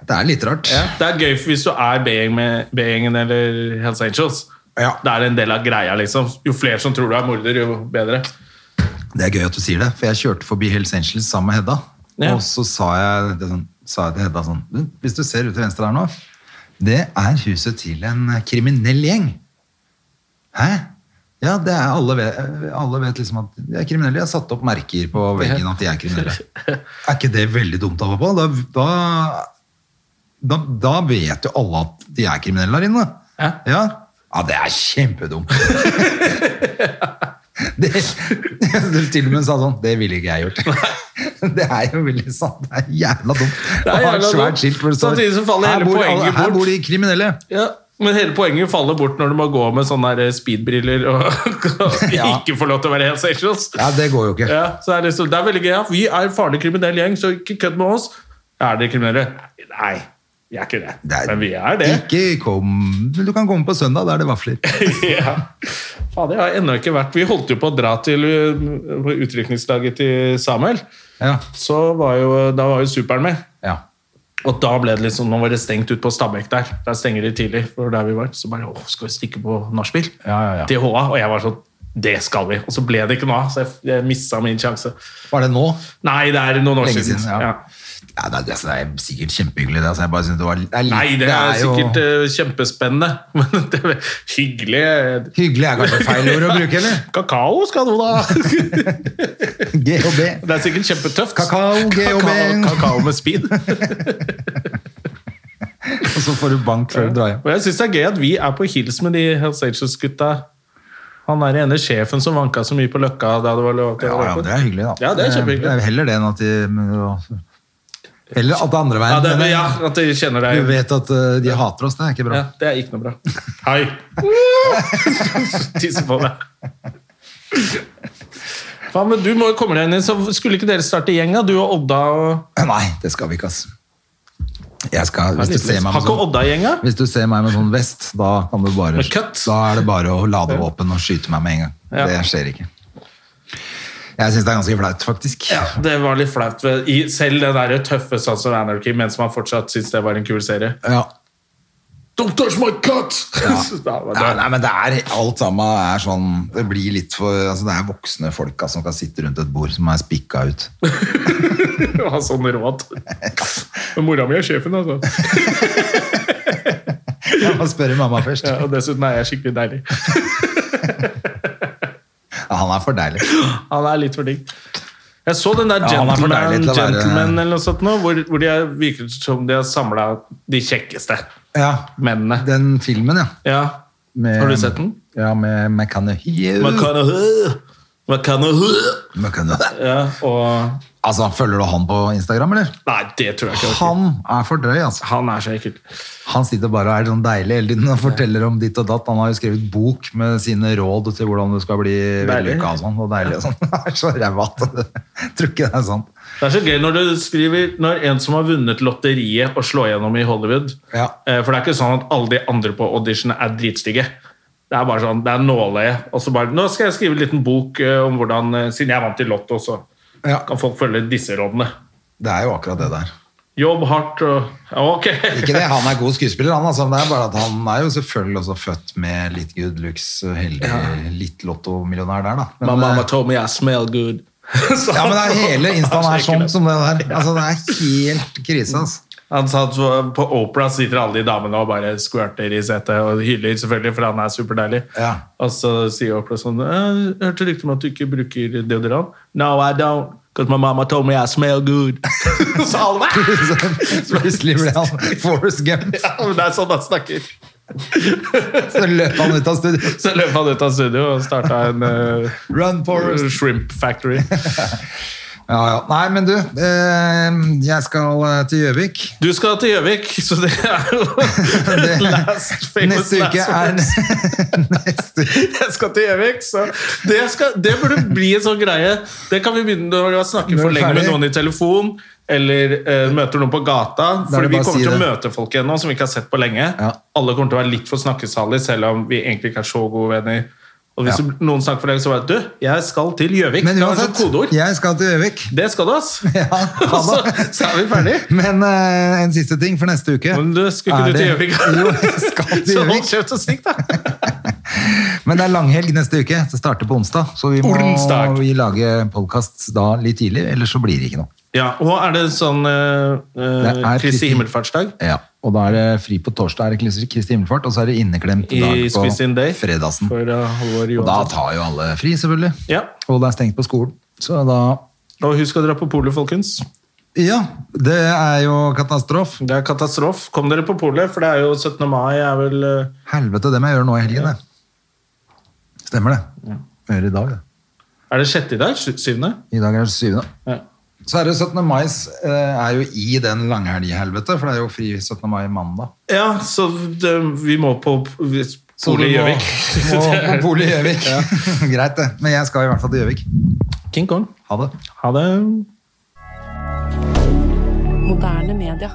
Det er litt rart.
Det er gøy for hvis du er B-gjeng med- B-gjengen eller Hells Angels.
Ja.
Det er en del av greia, liksom. Jo flere som tror du er morder, jo bedre.
Det er gøy at du sier det, for jeg kjørte forbi Hells Angels sammen med Hedda.
Ja.
Og så sa jeg, det sånn, sa jeg til Hedda sånn «Du, Hvis du ser ut til venstre her nå, det er huset til en kriminell gjeng. Hæ? Ja, det er alle vet, alle vet liksom at de er kriminelle. De har satt opp merker på veggen at de er kriminelle. Er ikke det veldig dumt av pappa? Da, da, da, da vet jo alle at de er kriminelle der inne.
Ja.
Ja, ja det er kjempedumt. Det, det til og med sa sånn Det ville ikke jeg gjort. Det er jo veldig sant. Det er jævla dumt.
Det
Å
er
ha et
jævla
svært
dumt.
skilt hvor det står
Samtidig så faller hele
her, bor,
poenget
alle- her
bort."
bor de kriminelle.
Ja, Men hele poenget faller bort når du må gå med sånne der eh, speedbriller og
Ja.
ikke får lov til å være Hells Angels.
Ja, det går jo ikke.
Ja, så det, er liksom, det er veldig gøy. Ja. Vi er en farlig kriminell gjeng, så ikke kødd med oss. Er dere kriminelle? Nei, vi er ikke det.
Det er-
Men vi er det.
Ikke kom Du kan komme på søndag, da er det vafler.
ja. Fader, jeg har ennå ikke vært Vi holdt jo på å dra til uh, på utrykningslaget til Samuel.
Ja.
Så var jo, da var jo superen med.
ja.
Og da ble det liksom, nå var det stengt ut på Stabekk der. Der stenger de tidlig. for der vi var. Så bare åh, skal vi stikke på nachspiel?
Ja, ja, ja.
Til HA. Og jeg var sånn Det skal vi. Og så ble det ikke noe av. Så jeg, jeg missa min sjanse.
Var det nå?
Nei, det er noen år
Lenge
siden.
siden. Ja.
Ja.
Ja, det, er, det er sikkert kjempehyggelig, det. Altså, jeg bare synes det var det er litt-
Nei, det er,
jo-
sikkert eh, kjempespennende. Men det er hyggelig
Hyggelig er kanskje feil ord å bruke, eller?
Kakao skal du, da!
GHB.
Det er sikkert kjempetøft.
Kakao, GHB.
Kakao, kakao med speed.
Og så får du bank før du drar hjem.
Og jeg syns det er gøy at vi er på hils med de Hells Angels-gutta. Han er ene sjefen som vanka så mye på Løkka da det var lov til
Ja,
å
ja,
røyke.
det er hyggelig, da.
Ja, det er kjempehyggelig.
Det er heller det enn at de men, å, Heller at det er andre veien.
Ja, det, ja, at de kjenner
Du
deg.
vet at eh, de hater oss, det er ikke bra.
Ja, det er ikke noe bra. Hei! Tisse på meg. Faen, men du må jo komme deg inn i så Skulle ikke dere starte gjeng, da? Du og Odda og
Nei, det skal vi ikke, ass. Jeg skal, hvis, du ser meg
Har
med
ikke
sånn,
Odda gjeng, da?
hvis du ser meg med sånn vest, da, kan du bare,
Med kutt?
da er det bare å lade våpen og skyte meg med en gang.
Ja.
Det skjer ikke. Jeg syns det er ganske flaut, faktisk.
Ja, det var litt flaut. ved- i- Selv det der tøffe Sons of Anarchy, mens man fortsatt syns det var en kul serie.
Ja.
Don't touch my cut! Da var det-
Ja, nei, men det er alt sammen er sånn Det blir litt for altså, Det er voksne folk ass, som kan sitte rundt et bord som er spikka ut.
å ha sånne råd. Men mora mi er sjefen, altså.
Jeg må spørre mamma først.
Ja, og dessuten er jeg skikkelig deilig.
Ja, han er for deilig.
Han er litt for digg. Jeg så den der
Ja, han er for
Gentleman,
deilig til å være-
gentleman eller noe sånt nå, hvor, hvor de er, virker som de har samla de kjekkeste
Ja,
mennene.
Den filmen, ja.
Ja.
Med,
Har du sett den?
Ja, med McConaughey.
McConaughey. McConaughey.
McConaughey.
Ja, og
Altså, Følger du han på Instagram, eller?
Nei, det tror jeg ikke. jeg orker.
Han er for drøy, altså.
Han er så ekkel.
Han sitter bare og er sånn deilig hele tiden og forteller om ditt og datt. Han har jo skrevet bok med sine råd til hvordan du skal bli
Deilig.
vellykka og sånn. Og deilig og sånn. Han er så ræva at jeg tror ikke det er sant.
Det er så gøy når du skriver Når en som har vunnet lotteriet og slår gjennom i Hollywood
Ja.
eh, For det er ikke sånn at alle de andre på audition er dritstygge. Det er bare sånn, det er nåløye. Og så bare Nå skal jeg skrive en liten bok eh, om hvordan eh, Siden jeg vant i Lotto, så
Ja,
kan folk følge disse rådene.
det er jo akkurat det der.
Jobb hardt og ja, Ok!
Ikke det, han er god skuespiller, han. Altså. Det er bare at han er jo selvfølgelig også født med litt good looks, heldig, litt lottomillionær der, da. Men,
My mama
eh,
told me I smell good. Så
ja, men det er hele instaen
han
er sånn
ikke det.
som det der. Altså, det er helt krise, altså.
Han sa at på Opera sitter alle de damene og bare squirter i setet og hyler, selvfølgelig, for han er superdeilig.
Ja.
Og så sier Opera sånn «Eh, Jeg hørte rykte om at du ikke bruker deodorant. No, I don't. Because my mama told me I smell good. så alle bare
Så Plutselig ble han Forrest Gump,
ja, men Det er sånn han snakker.
så løp han ut av studio.
Så løp han ut av studio og starta en eh,
Run, Forrest.
shrimp factory.
Ja, ja. Nei, men du, eh, jeg skal eh, til Gjøvik.
Du skal til Gjøvik, så det er jo
Det-
last famous
Neste uke
last
er
words.
Neste
Jeg skal til Gjøvik, så det, skal, det burde bli en sånn greie. Det kan vi begynne å snakke
Når du
for
er
lenge med
ferdig.
noen i telefon, eller eh, møter noen på gata.
Da er det
Fordi vi
bare å
kommer
si
til å
det.
møte folk igjen nå som vi ikke har sett på lenge.
Ja.
Alle kommer til å være litt for snakkesalige, selv om vi egentlig ikke er så gode venner. Og hvis
Ja.
noen snakker for lenge, så bare Du, jeg skal til Gjøvik.
Men
Det var sånn
uansett,
kodeord.
jeg skal til Gjøvik.
Det skal du, ass.
Ja,
Og så,
ha det.
så er vi ferdige.
Men eh, en siste ting for neste uke.
Men du, skulle ikke
Er
du
det-
til Gjøvik?
Jo, jeg skal til
Så hold
Gjøvik.
kjeft og stikk, da.
Men det er langhelg neste uke. Det starter på onsdag. Så vi må
Onsdag.
vi lage podkast da litt tidlig, ellers så blir det ikke noe.
Ja, og er det sånn eh, eh,
Det er Kristi-
Kristi himmelfartsdag?
Ja, Og da er det fri på torsdag, er det Kristi- Kristi himmelfart, og så er det inneklemt
I
dag på
Spis in Day?
fredagsen.
For eh, Halvor
Og da
Johansson.
tar jo alle fri, selvfølgelig.
Ja.
Og det er stengt på skolen. Så da
Og husk å dra på polet, folkens.
Ja, det er jo katastrofe.
Det er katastrof. Kom dere på polet, for det er jo 17. mai er vel eh,
Helvete, det må jeg gjøre nå i helgen, det. Stemmer det. Jeg gjør det i dag, det.
Er det sjette i dag? Sju- Syvende?
I dag er det syvende.
Ja.
Så er det 17. mai eh, er jo i den langhelg-helvete, for det er jo fri 17. mai mandag.
ja, så det, vi må på
Så
polet
du må-
i Gjøvik.
Må
Det
på
er-
bolig i Gjøvik. Greit, det. Men jeg skal i hvert fall til Gjøvik.
King Kong.
Ha det.
Ha det.
Moderne media.